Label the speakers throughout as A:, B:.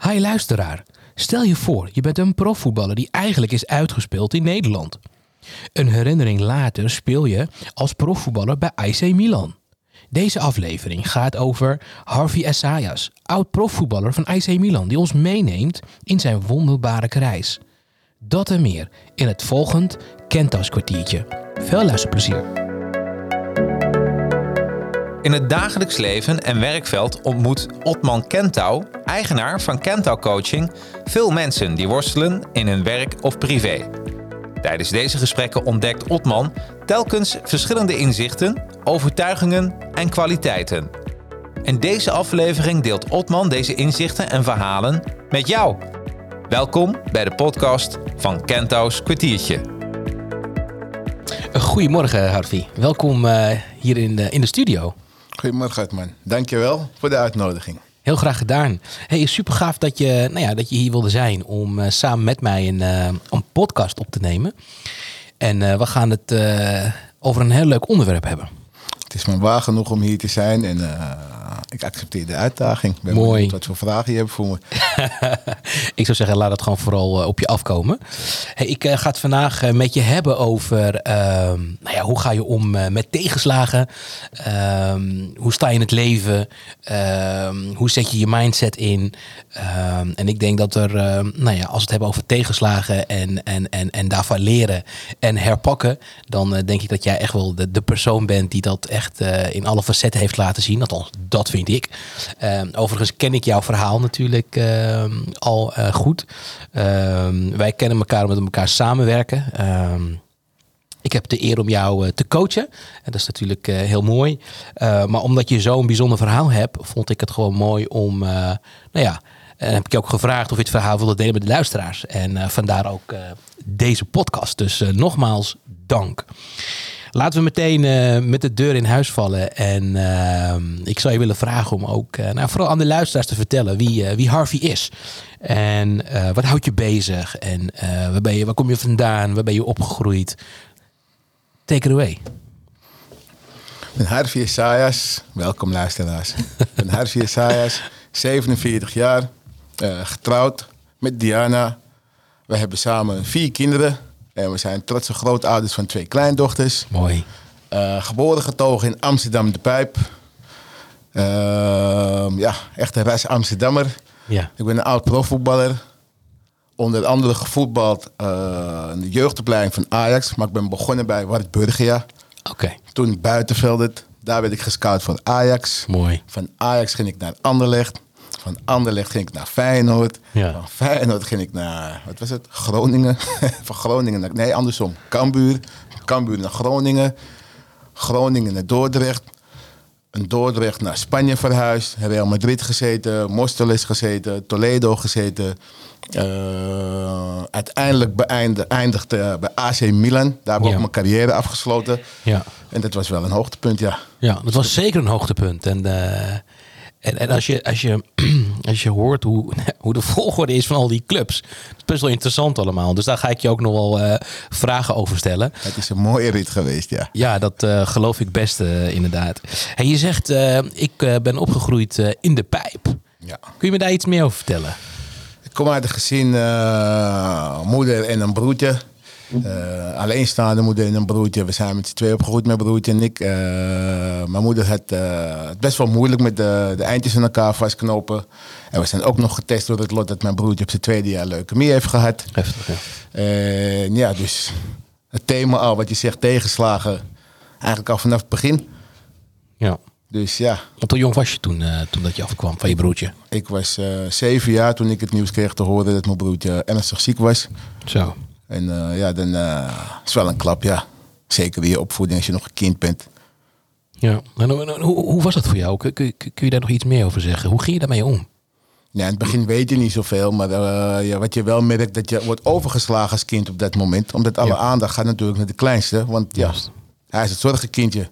A: Hi luisteraar, stel je voor, je bent een profvoetballer die eigenlijk is uitgespeeld in Nederland. Een herinnering later speel je als profvoetballer bij IC Milan. Deze aflevering gaat over Harvey Esayas, oud profvoetballer van IC Milan, die ons meeneemt in zijn wonderbare reis. Dat en meer in het volgend Kentas kwartiertje. Veel luisterplezier.
B: In het dagelijks leven en werkveld ontmoet Otman Kentau, eigenaar van Kentau Coaching, veel mensen die worstelen in hun werk of privé. Tijdens deze gesprekken ontdekt Otman telkens verschillende inzichten, overtuigingen en kwaliteiten. In deze aflevering deelt Otman deze inzichten en verhalen met jou. Welkom bij de podcast van Kentau's Kwartiertje.
A: Goedemorgen Harvey, welkom eh, hier in de, in de studio.
C: Goedemorgen, Hartman. Dankjewel voor de uitnodiging.
A: Heel graag gedaan. Hey, super gaaf dat je, nou ja, dat je hier wilde zijn om eh, samen met mij een, eh, een podcast op te nemen. En eh, we gaan het eh, over een heel leuk onderwerp hebben.
C: Het is me waar genoeg om hier te zijn en eh, ik accepteer de uitdaging. Ik ben
A: Mooi.
C: benieuwd wat voor vragen je hebt voor me.
A: Ik zou zeggen, laat het gewoon vooral eh, op je afkomen. Hey, ik eh, ga het vandaag eh, met je hebben over ehm, nou ja, hoe ga je om eh, met tegenslagen? Ehm, hoe sta je in het leven? Ehm, hoe zet je je mindset in? Ehm, en ik denk dat er, ehm, nou ja, als we het hebben over tegenslagen en, en, en, en daarvan leren en herpakken, dan eh, denk ik dat jij echt wel de, de persoon bent die dat echt eh, in alle facetten heeft laten zien. Althans, dat vind ik. Ehm, overigens ken ik jouw verhaal natuurlijk ehm, al eh, goed. Ehm, wij kennen elkaar omdat we elkaar samenwerken. Ehm, ik heb de eer om jou eh, te coachen. En dat is natuurlijk eh, heel mooi. Eh, maar omdat je zo'n bijzonder verhaal hebt, vond ik het gewoon mooi om. eh, nou ja, en heb ik je ook gevraagd of je het verhaal wilde delen met de luisteraars. En eh, vandaar ook eh, deze podcast. Dus eh, nogmaals, dank. Laten we meteen eh, met de deur in huis vallen. En ehm, ik zou je willen vragen om ook eh, nou, vooral aan de luisteraars te vertellen wie, eh, wie Harvey is. En eh, wat houdt je bezig? En eh, waar, ben je, waar kom je vandaan? Waar ben je opgegroeid? Take it away.
C: Ik ben Harvey Esayas. Welkom luisteraars. ik ben Harvey Esayas, 47 jaar, eh, getrouwd met Diana. We hebben samen vier kinderen en we zijn trotse grootouders van twee kleindochters.
A: Mooi.
C: Eh, geboren getogen in Amsterdam de Pijp. Ehm, ja, echt een ras Amsterdammer.
A: Ja.
C: Ik ben een oud profvoetballer. Onder andere gevoetbald eh, in de jeugdopleiding van Ajax. Maar ik ben begonnen bij Wartburgia.
A: Oké.
C: Toen ik buitenvelderd. Daar werd ik gescout voor Ajax.
A: Mooi.
C: Van Ajax ging ik naar Anderlecht. Van Anderlecht ging ik naar Feyenoord.
A: Ja.
C: Van Feyenoord ging ik naar, wat was het? Groningen. van Groningen naar, nee andersom, Cambuur. Van Cambuur naar Groningen. Groningen naar Dordrecht. Een Dordrecht naar Spanje verhuisd. Real Madrid gezeten. Mosteles gezeten. Toledo gezeten. Eh, uiteindelijk beëindigde, eindigde bij AC Milan. Daar heb ik
A: Ja.
C: ook mijn carrière afgesloten.
A: Ja.
C: En dat was wel een hoogtepunt, ja.
A: Ja, dat was zeker een hoogtepunt. En, eh, en, en als, je, als, je, als je hoort hoe, hoe de volgorde is van al die clubs, dat is best wel interessant allemaal. Dus daar ga ik je ook nog wel eh, vragen over stellen.
C: Het is een mooie rit geweest, ja.
A: Ja, dat eh, geloof ik best eh, inderdaad. En je zegt, eh, ik eh, ben opgegroeid eh, in de pijp.
C: ja.
A: Kun je me daar iets meer over vertellen?
C: Ik kom uit een gezin, eh, moeder en een broertje. Eh, alleenstaande moeder en een broertje. We zijn met z'n twee opgegroeid, mijn broertje en ik. Eh, mijn moeder had eh, het best wel moeilijk met de, de eindjes aan elkaar vastknopen. En we zijn ook nog getest door het lot dat mijn broertje op zijn tweede jaar leukemie heeft gehad.
A: Heftig, ja.
C: En ja, dus het thema al, wat je zegt, tegenslagen. Eigenlijk al vanaf het begin.
A: ja.
C: Dus ja,
A: Want hoe jong was je toen, eh, toen dat je afkwam van je broertje?
C: ik was eh, zeven jaar toen ik het nieuws kreeg te horen dat mijn broertje ernstig ziek was.
A: Zo.
C: En eh, ja, dan eh, is wel een klap, ja. Zeker in je opvoeding als je nog een kind bent.
A: Ja. En hoe, hoe, hoe was dat voor jou? Kun, kun, kun je daar nog iets meer over zeggen? Hoe ging je daarmee om?
C: Ja, in het begin weet je niet zoveel, maar eh, ja, wat je wel merkt, dat je wordt overgeslagen als kind op dat moment. Omdat alle
A: Ja.
C: aandacht gaat natuurlijk naar de kleinste, want ja,
A: Juist.
C: hij is het zorgenkindje.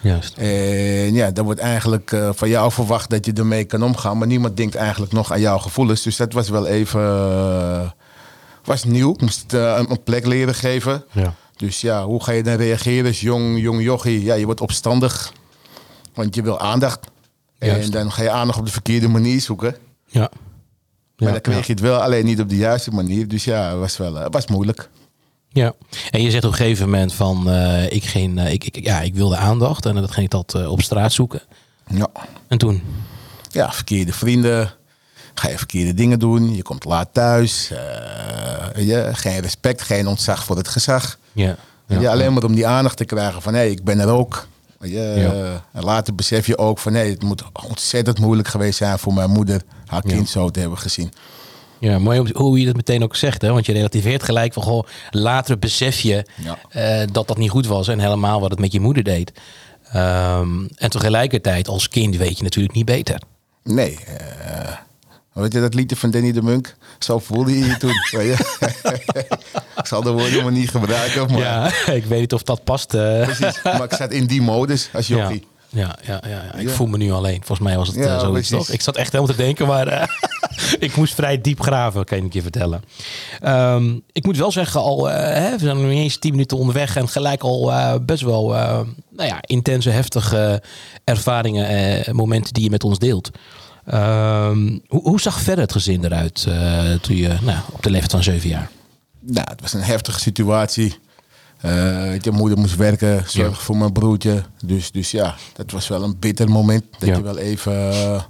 A: Juist.
C: En ja, dan wordt eigenlijk eh, van jou verwacht dat je ermee kan omgaan, maar niemand denkt eigenlijk nog aan jouw gevoelens. Dus dat was wel even, eh, was nieuw. Ik moest het eh, een- een plek leren geven.
A: Ja.
C: Dus ja, hoe ga je dan reageren als jong, jong jochie? Ja, je wordt opstandig, want je wil aandacht.
A: Juist.
C: En dan ga je aandacht op de verkeerde manier zoeken.
A: Ja.
C: Maar
A: Ja,
C: dan kreeg
A: ja.
C: je het wel, alleen niet op de juiste manier. Dus ja, het was, wel, eh, het was moeilijk.
A: Ja, en je zegt op een gegeven moment van eh, ik, ging, eh, ik, ik, ja, ik wilde aandacht en dat ging ik dat eh, op straat zoeken.
C: Ja.
A: En toen,
C: ja, verkeerde vrienden. Ga je verkeerde dingen doen. Je komt laat thuis. eh, weet je, geen respect, geen ontzag voor het gezag.
A: ja.
C: Ja, alleen maar om die aandacht te krijgen van hé, ik ben er ook. Weet je, eh, En later besef je ook van hé, het moet ontzettend moeilijk geweest zijn voor mijn moeder haar kind zo te hebben gezien.
A: Ja, mooi om- hoe je dat meteen ook zegt, hè? want je relativeert gelijk van goh, later besef je
C: Ja.
A: eh, dat dat niet goed was en helemaal wat het met je moeder deed. Ehm, en tegelijkertijd als kind weet je natuurlijk niet beter.
C: Nee. eh, weet je dat liedje van Danny de Munk? Zo voelde je je toen. weet je. ik zal de woorden maar niet gebruiken. Maar,
A: Ja, ik weet niet of dat past. eh.
C: precies, maar ik zat in die modus als
A: ja.
C: jochie.
A: Ja, ja, ja, ja. ik
C: Ja.
A: voel me nu alleen. Volgens mij was het
C: Ja,
A: eh, zoiets
C: precies.
A: toch? Ik zat echt helemaal te denken, maar eh, ik moest vrij diep graven, kan ik je vertellen. Ehm, ik moet wel zeggen, al, eh, hè, we zijn nog niet eens tien minuten onderweg en gelijk al eh, best wel eh, nou ja, intense, heftige ervaringen, eh, momenten die je met ons deelt. Ehm, hoe, hoe zag verder het gezin eruit eh, toen je nou, op de leeftijd van zeven jaar?
C: Nou, het was een heftige situatie. Eh, weet je moeder moest werken, zorg
A: Ja.
C: voor mijn broertje. Dus, dus ja, dat was wel een bitter moment. Dat
A: Ja.
C: je wel even... eh,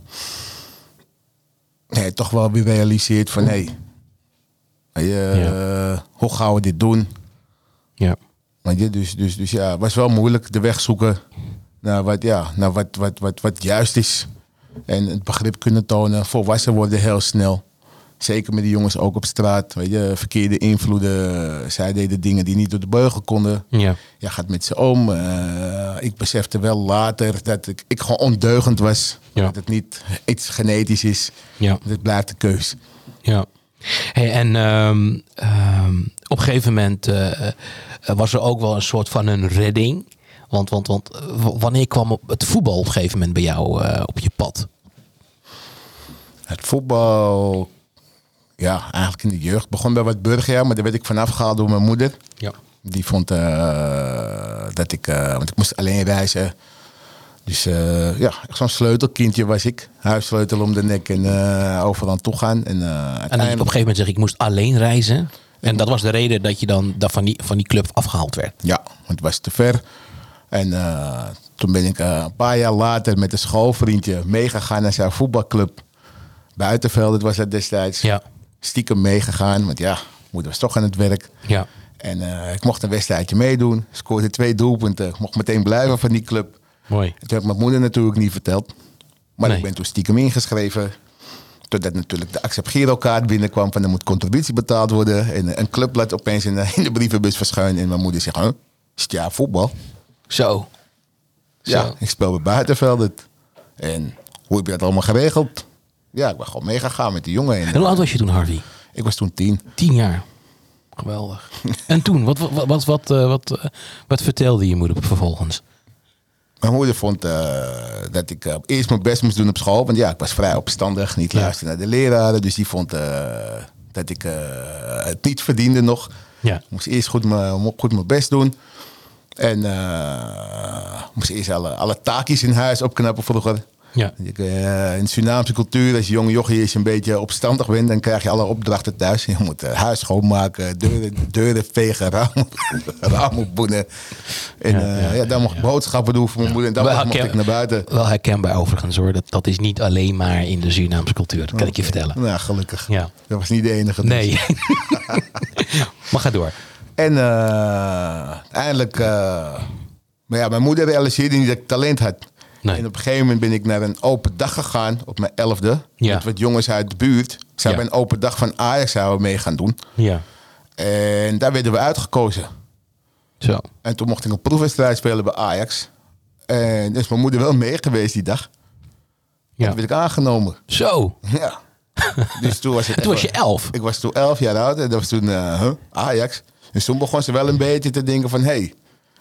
C: nee, toch wel weer realiseert van... Hé, hey, eh, hoe gaan we dit doen?
A: Ja,
C: Weet je, dus, dus, dus ja, het was wel moeilijk de weg zoeken naar, wat, ja, naar wat, wat, wat, wat juist is. En het begrip kunnen tonen. Volwassen worden heel snel. Zeker met die jongens ook op straat. Weet je, verkeerde invloeden. Zij deden dingen die niet door de beugel konden.
A: ja,
C: Ja, gaat met ze om. Eh, ik besefte wel later dat ik, ik gewoon ondeugend was.
A: Ja.
C: Dat het niet iets genetisch is.
A: ja.
C: Dat blijft de keus.
A: Ja. Hey, en ehm, ehm, op een gegeven moment eh, eh, was er ook wel een soort van een redding. Want, want, want eh, w- wanneer kwam op het voetbal op een gegeven moment bij jou eh, op je pad?
C: Het voetbal, ja, eigenlijk in de jeugd. Begon bij wat burgerjaar, maar daar werd ik vanaf gehaald door mijn moeder.
A: Ja.
C: Die vond eh, dat ik, eh, want ik moest alleen reizen. Dus eh, ja, echt zo'n sleutelkindje was ik. Huissleutel om de nek en eh, overal aan toe gaan. En, eh,
A: En dat je op een
C: uiteindelijk,
A: gegeven moment zegt, ik moest alleen reizen. En dat was de reden dat je dan dat van, die, van die club afgehaald werd.
C: ja, want het was te ver. En eh, toen ben ik eh, een paar jaar later met een schoolvriendje meegegaan naar zijn voetbalclub. Buitenveld, dat was dat destijds.
A: Ja,
C: Stiekem meegegaan, want ja, moeder was toch aan het werk.
A: ja,
C: En eh, ik mocht een wedstrijdje meedoen. Scoorde twee doelpunten. Ik mocht meteen blijven van die club.
A: mooi.
C: Dat heb ik mijn moeder natuurlijk niet verteld. Maar
A: Nee.
C: ik ben toen stiekem ingeschreven. Totdat natuurlijk de Accept Giro-kaart binnenkwam van er moet contributie betaald worden. En eh, een club laat opeens in de, in de brievenbus verschuilen. En mijn moeder zegt, huh? is het ja voetbal?
A: Zo.
C: Ja,
A: Zo.
C: ik speel bij buitenvelden. En hoe heb je dat allemaal geregeld? Ja, ik ben gewoon meegegaan met die jongen. En, eh,
A: En hoe oud was je toen, Harvey?
C: ik was toen tien.
A: Tien jaar. Geweldig. En toen, wat, wat, wat, wat, eh, wat, eh, wat vertelde je moeder vervolgens?
C: Mijn moeder vond eh, dat ik eh, eerst mijn best moest doen op school. Want ja, ik was vrij opstandig, niet
A: Ja.
C: luisteren naar de leraren. Dus die vond eh, dat ik eh, het niet verdiende nog.
A: Ja.
C: Ik moest eerst goed mijn, mo- goed mijn best doen. En eh, ik moest eerst alle, alle taakjes in huis opknappen vroeger.
A: Ja.
C: Ik, eh, in de Surinaamse cultuur, als je jonge jochie is een beetje opstandig bent, dan krijg je alle opdrachten thuis. Je moet eh, huis schoonmaken, deuren, deuren vegen, ramen, ramen boenen. En
A: Ja,
C: ja,
A: ja,
C: ja, dan mocht ik boodschappen doen voor mijn moeder. En dan
A: Wel
C: mocht- mocht
A: herken-
C: ik naar buiten.
A: Wel herkenbaar overigens hoor. Dat, dat is niet alleen maar in de Surinaamse cultuur. Dat kan ik je vertellen.
C: Nou, gelukkig.
A: Ja.
C: Dat was niet de enige. dus.
A: Nee. maar ga door.
C: En eh, uiteindelijk... eh, maar ja, mijn moeder realiseerde niet dat ik talent had.
A: Nee.
C: En op een gegeven moment ben ik naar een open dag gegaan op mijn elfde.
A: Ja.
C: Met wat jongens uit de buurt. Ze
A: Ja.
C: hebben een open dag van Ajax zouden we mee gaan doen.
A: Ja.
C: En daar werden we uitgekozen.
A: Zo.
C: En toen mocht ik een proefwedstrijd spelen bij Ajax. En dus mijn moeder wel mee geweest die dag.
A: Ja.
C: Toen werd ik aangenomen.
A: Zo.
C: Ja. dus toen was, het
A: Toen was je elf.
C: Ik was toen elf jaar oud en dat was toen eh, huh, Ajax. Dus toen begon ze wel een beetje te denken van... hey,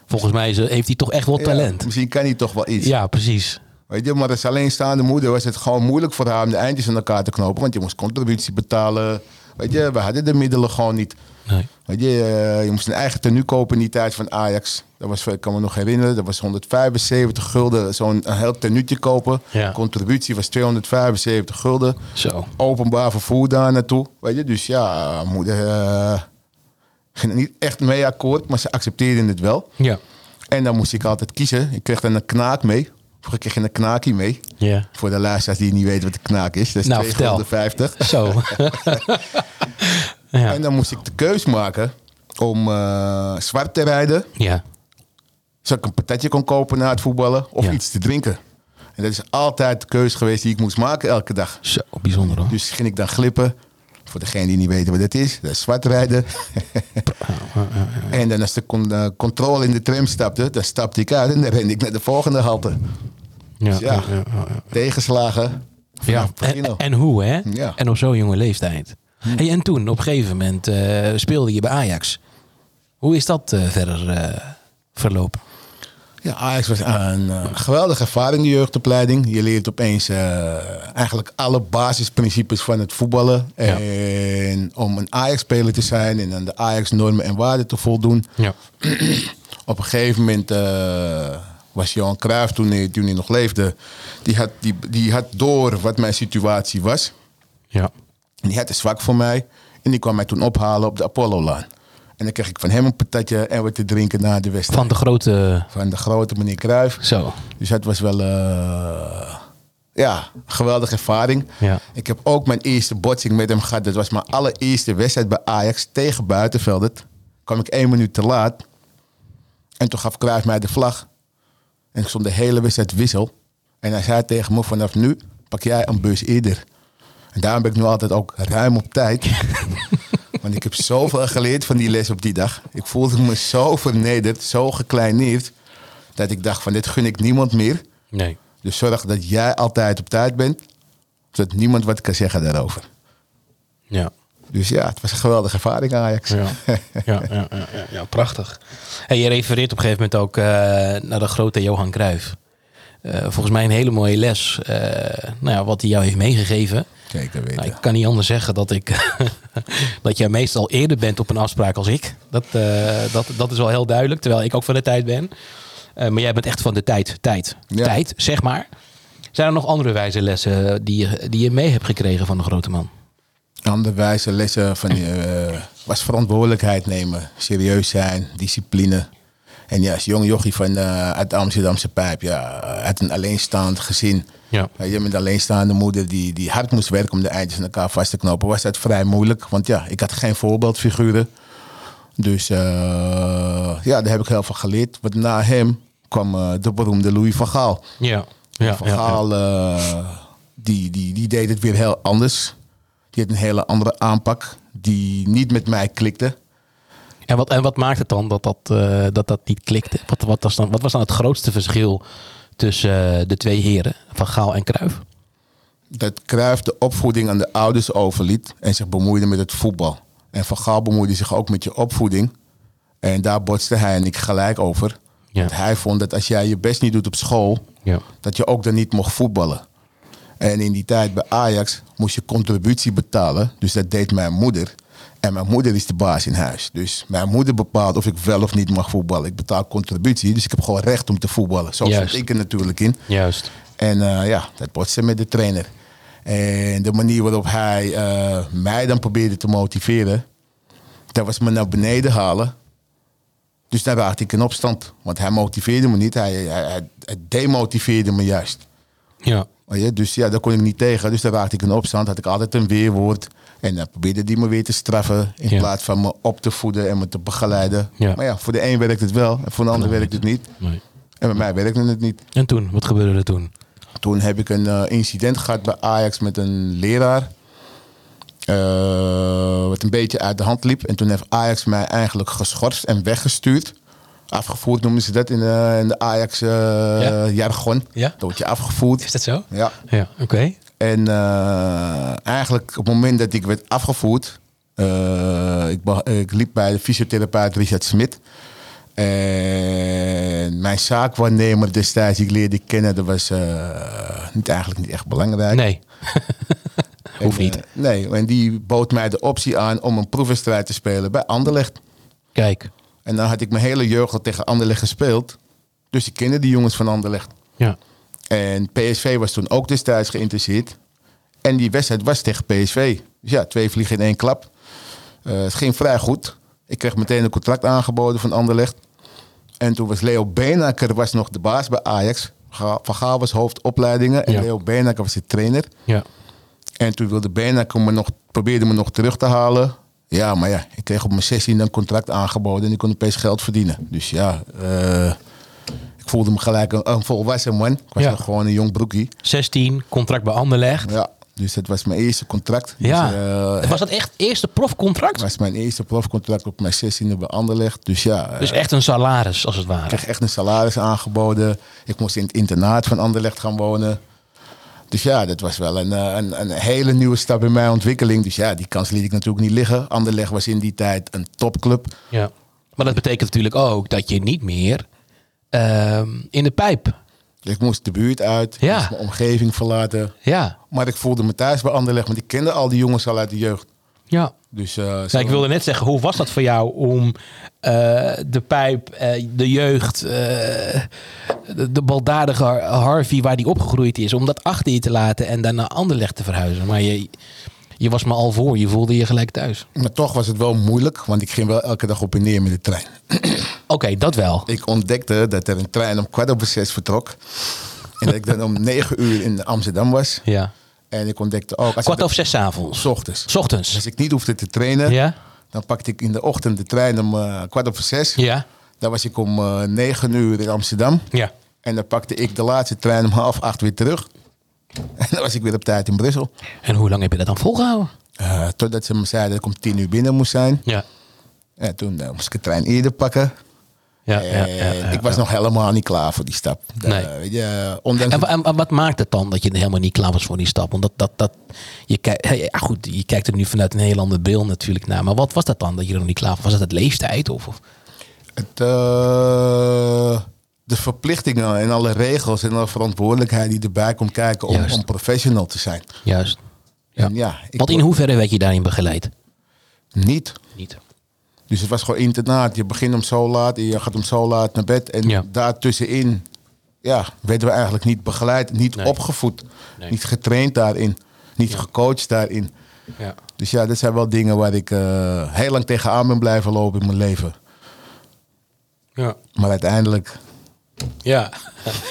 A: Volgens mij is- heeft hij toch echt wel
C: ja,
A: talent.
C: misschien kan hij toch wel iets.
A: Ja, precies.
C: Weet je, maar als alleenstaande moeder was het gewoon moeilijk voor haar om de eindjes aan elkaar te knopen. Want je moest contributie betalen, Weet je, we hadden de middelen gewoon niet.
A: Nee.
C: Weet je, eh, je moest een eigen tenue kopen in die tijd van Ajax. Dat was, ik kan me nog herinneren, dat was 175 gulden. Zo'n een heel tenuutje kopen.
A: Ja.
C: Contributie was 275 gulden.
A: Zo.
C: Openbaar vervoer daar naartoe. Weet je, dus ja, moeder eh, ging er niet echt mee akkoord, maar ze accepteerden het wel.
A: Ja.
C: En dan moest ik altijd kiezen. Ik kreeg dan een knaak mee. Of ik kreeg een knaakie mee.
A: Ja.
C: Voor de luisteraars die niet weten wat een knaak is. Dat is
A: Nou,
C: 2,50
A: vertel. Zo. ja.
C: En dan moest ik de keus maken om eh, zwart te rijden.
A: ja.
C: Zodat ik een patatje kon kopen na het voetballen. Of
A: Ja.
C: iets te drinken. En dat is altijd de keus geweest die ik moest maken elke dag.
A: Zo, bijzonder hoor.
C: Dus ging ik dan glippen. Voor degene die niet weten wat het is. Dat is zwart rijden. en dan als de con- eh, controle in de tram stapte. Dan stapte ik uit en dan rende ik naar de volgende halte.
A: Ja.
C: ja. Tegenslagen.
A: Ja,
C: begin
A: en,
C: al.
A: en hoe hè?
C: Ja. Hm.
A: En op zo'n jonge leeftijd. Hey, en toen, op een gegeven moment, eh, speelde je bij Ajax. Hoe is dat eh, verder eh, verlopen?
C: Ja, Ajax was een eh, geweldige ervaring, de jeugdopleiding. Je leert opeens eh, eigenlijk alle basisprincipes van het voetballen.
A: Ja.
C: En om een Ajax-speler te zijn en aan de Ajax-normen en waarden te voldoen.
A: Ja.
C: Op een gegeven moment eh, was Johan Cruijff, toen hij, toen hij nog leefde, die had, die, die had door wat mijn situatie was.
A: Ja.
C: En die had het zwak voor mij. En die kwam mij toen ophalen op de Apollo-laan. En dan kreeg ik van hem een patatje en wat te drinken na de wedstrijd.
A: Van de grote...
C: Van de grote meneer Cruijff.
A: Zo.
C: Dus dat was wel eh, ja, een geweldige ervaring.
A: Ja.
C: Ik heb ook mijn eerste botsing met hem gehad. Dat was mijn allereerste wedstrijd bij Ajax tegen Buitenveldert. Kwam ik één minuut te laat. En toen gaf Cruijff mij de vlag. En ik stond de hele wedstrijd wissel. En hij zei tegen me, vanaf nu pak jij een bus eerder. En daarom ben ik nu altijd ook ruim op tijd. Want ik heb zoveel geleerd van die les op die dag. Ik voelde me zo vernederd, zo gekleineerd. Dat ik dacht van dit gun ik niemand meer.
A: Nee.
C: Dus zorg dat jij altijd op tijd bent. Zodat niemand wat kan zeggen daarover.
A: Ja.
C: Dus ja, het was een geweldige ervaring Ajax.
A: Ja, ja, ja, ja, ja, ja, prachtig. En je refereert op een gegeven moment ook eh, naar de grote Johan Cruijff. Eh, volgens mij een hele mooie les, eh, nou ja, wat hij jou heeft meegegeven.
C: Zeker weten.
A: Nou, ik kan niet anders zeggen dat ik dat jij meestal eerder bent op een afspraak als ik. Dat, eh, dat, dat is wel heel duidelijk, terwijl ik ook van de tijd ben. Eh, maar jij bent echt van de tijd, tijd,
C: Ja.
A: tijd, zeg maar. Zijn er nog andere wijze lessen eh, die je, die je mee hebt gekregen van de grote man?
C: Andere wijze lessen van, eh, was verantwoordelijkheid nemen, serieus zijn, discipline. En ja, als jong jochie van, eh, uit de Amsterdamse pijp, ja, uit een alleenstaand gezin.
A: Ja.
C: Weet je met een alleenstaande moeder die, die hard moest werken om de eindjes aan elkaar vast te knopen, was dat vrij moeilijk. Want ja, ik had geen voorbeeldfiguren. Dus eh, ja, daar heb ik heel veel geleerd. Want na hem kwam eh, de beroemde Louis van Gaal.
A: Ja. Ja,
C: Van Gaal, eh, die, die, die deed het weer heel anders. Die had een hele andere aanpak die niet met mij klikte.
A: En wat, en wat maakt het dan dat dat, eh, dat, dat niet klikte? Wat, wat, was dan, wat was dan het grootste verschil tussen eh, de twee heren, Van Gaal en Cruijff?
C: Dat Cruijff de opvoeding aan de ouders overliet en zich bemoeide met het voetbal. En Van Gaal bemoeide zich ook met je opvoeding. En daar botste hij en ik gelijk over.
A: Ja.
C: Want hij vond dat als jij je best niet doet op school,
A: Ja.
C: dat je ook dan niet mocht voetballen. En in die tijd bij Ajax moest je contributie betalen. Dus dat deed mijn moeder. En mijn moeder is de baas in huis. Dus mijn moeder bepaalt of ik wel of niet mag voetballen. Ik betaal contributie, dus ik heb gewoon recht om te voetballen. Zo zat
A: Juist.
C: ik er natuurlijk in.
A: Juist.
C: En eh, ja, dat botste met de trainer. En de manier waarop hij eh, mij dan probeerde te motiveren, dat was me naar beneden halen. Dus daar raakte ik in opstand. Want hij motiveerde me niet, hij, hij, hij- hij demotiveerde me juist.
A: Ja.
C: Weet je, Dus ja, daar kon ik niet tegen. Dus daar raakte ik in opstand. Had ik altijd een weerwoord. En dan probeerde die me weer te straffen. In
A: Ja.
C: plaats van me op te voeden en me te begeleiden.
A: Ja.
C: Maar ja, voor de een werkt het wel. En voor de ander werkt het niet.
A: Nee.
C: En bij mij werkte het niet.
A: En toen, wat gebeurde er toen?
C: Toen heb ik een eh, incident gehad bij Ajax met een leraar. eh, wat een beetje uit de hand liep. En toen heeft Ajax mij eigenlijk geschorst en weggestuurd. Afgevoerd noemden ze dat in, eh, in de
A: Ja.
C: Ajax-jargon.
A: Ja.
C: Dan word je afgevoerd.
A: Is dat zo?
C: Ja.
A: Ja, oké.
C: En eh, eigenlijk op het moment dat ik werd afgevoerd, eh, ik, beh- ik liep bij de fysiotherapeut Richard Smit. En mijn zaakwaarnemer destijds, die ik leerde kennen, dat was eh, niet, eigenlijk niet echt belangrijk.
A: Nee. Hoeft
C: En,
A: niet.
C: eh, nee, en die bood mij de optie aan om een proefwedstrijd te spelen bij Anderlecht.
A: Kijk.
C: En dan had ik mijn hele jeugd al tegen Anderlecht gespeeld. Dus ik kende die jongens van Anderlecht.
A: Ja.
C: En PSV was toen ook destijds geïnteresseerd. En die wedstrijd was tegen PSV. Dus ja, twee vliegen in één klap. Eh, het ging vrij goed. Ik kreeg meteen een contract aangeboden van Anderlecht. En toen was Leo Beenakker was nog de baas bij Ajax. Ga- Van Gaal was hoofdopleidingen en
A: Ja.
C: Leo Beenakker was de trainer.
A: Ja.
C: En toen wilde Beenakker me nog, probeerde me nog terug te halen. Ja, maar ja, ik kreeg op mijn 16 een contract aangeboden en ik kon opeens geld verdienen. Dus ja, eh, ik voelde me gelijk een, een volwassen man. Ik was
A: Ja.
C: nog gewoon een jong broekie.
A: 16, contract bij Anderlecht.
C: Ja, dus dat was mijn eerste contract.
A: Ja.
C: Dus, eh,
A: was dat echt eerste profcontract?
C: het was mijn eerste profcontract op mijn 16e bij Anderlecht. Dus ja, eh,
A: Dus echt een salaris, als het
C: ik
A: ware.
C: kreeg echt een salaris aangeboden. Ik moest in het internaat van Anderlecht gaan wonen. Dus ja, dat was wel een, eh, een, een hele nieuwe stap in mijn ontwikkeling. Dus ja, die kans liet ik natuurlijk niet liggen. Anderlecht was in die tijd een topclub.
A: Ja. Maar dat betekent natuurlijk ook dat je niet meer ehm, in de pijp.
C: Dus Ik moest de buurt uit,
A: Ja.
C: ik moest mijn omgeving verlaten.
A: Ja.
C: Maar ik voelde me thuis bij Anderlecht, want ik kende al die jongens al uit de jeugd.
A: Ja.
C: Dus, eh, zo-
A: Nou, ik wilde net zeggen, hoe was dat voor jou om eh, de pijp, eh, de jeugd, eh, de, de baldadige Har- Harvey waar die opgegroeid is, om dat achter je te laten en daarna Anderlecht te verhuizen? Maar je, je was me al voor, je voelde je gelijk thuis.
C: Maar toch was het wel moeilijk, want ik ging wel elke dag op en neer met de trein.
A: Oké, dat wel.
C: Ik ontdekte dat er een trein om kwart over zes vertrok. En dat ik dan om negen uur in Amsterdam was.
A: Ja.
C: En ik ontdekte ook... Als
A: Kwart
C: ik
A: over zes 's avonds.
C: S ochtends.
A: S ochtends.
C: Als ik niet hoefde te trainen,
A: Ja?
C: dan pakte ik in de ochtend de trein om eh, kwart over zes.
A: Ja.
C: Dan was ik om eh, negen uur in Amsterdam.
A: Ja.
C: En dan pakte ik de laatste trein om half acht weer terug. En dan was ik weer op tijd in Brussel.
A: En hoe lang heb je dat dan volgehouden?
C: Eh, totdat ze me zeiden dat ik om tien uur binnen moest zijn.
A: Ja.
C: En toen eh, moest ik de trein eerder pakken.
A: Ja, ja,
C: En
A: ja, ja.
C: ik was nog helemaal niet klaar voor die stap. Eh,
A: Nee.
C: weet je, eh, ondanks
A: En, wa- en wa- wat maakt het dan dat je helemaal niet klaar was voor die stap? Want dat, dat, dat, je, kijkt, ja, goed, je kijkt er nu vanuit een heel ander beeld natuurlijk naar. Maar wat was dat dan dat je er nog niet klaar voor was? Was dat het leeftijd? Of, of?
C: het, eh, de verplichtingen en alle regels en alle verantwoordelijkheid die erbij komt kijken om,
A: Juist.
C: om professional te zijn.
A: Juist. Ja.
C: En ja, ik
A: Want in
C: word
A: hoeverre werd je daarin begeleid?
C: Niet.
A: Niet.
C: Dus het was gewoon internaat. Je begint om zo laat en je gaat om zo laat naar bed. En
A: Ja.
C: daartussenin ja, werden we eigenlijk niet begeleid, niet
A: Nee.
C: opgevoed,
A: Nee.
C: niet getraind daarin, niet gecoacht daarin.
A: Ja.
C: Dus ja, dat zijn wel dingen waar ik eh, heel lang tegenaan ben blijven lopen in mijn leven.
A: Ja.
C: Maar uiteindelijk
A: Ja.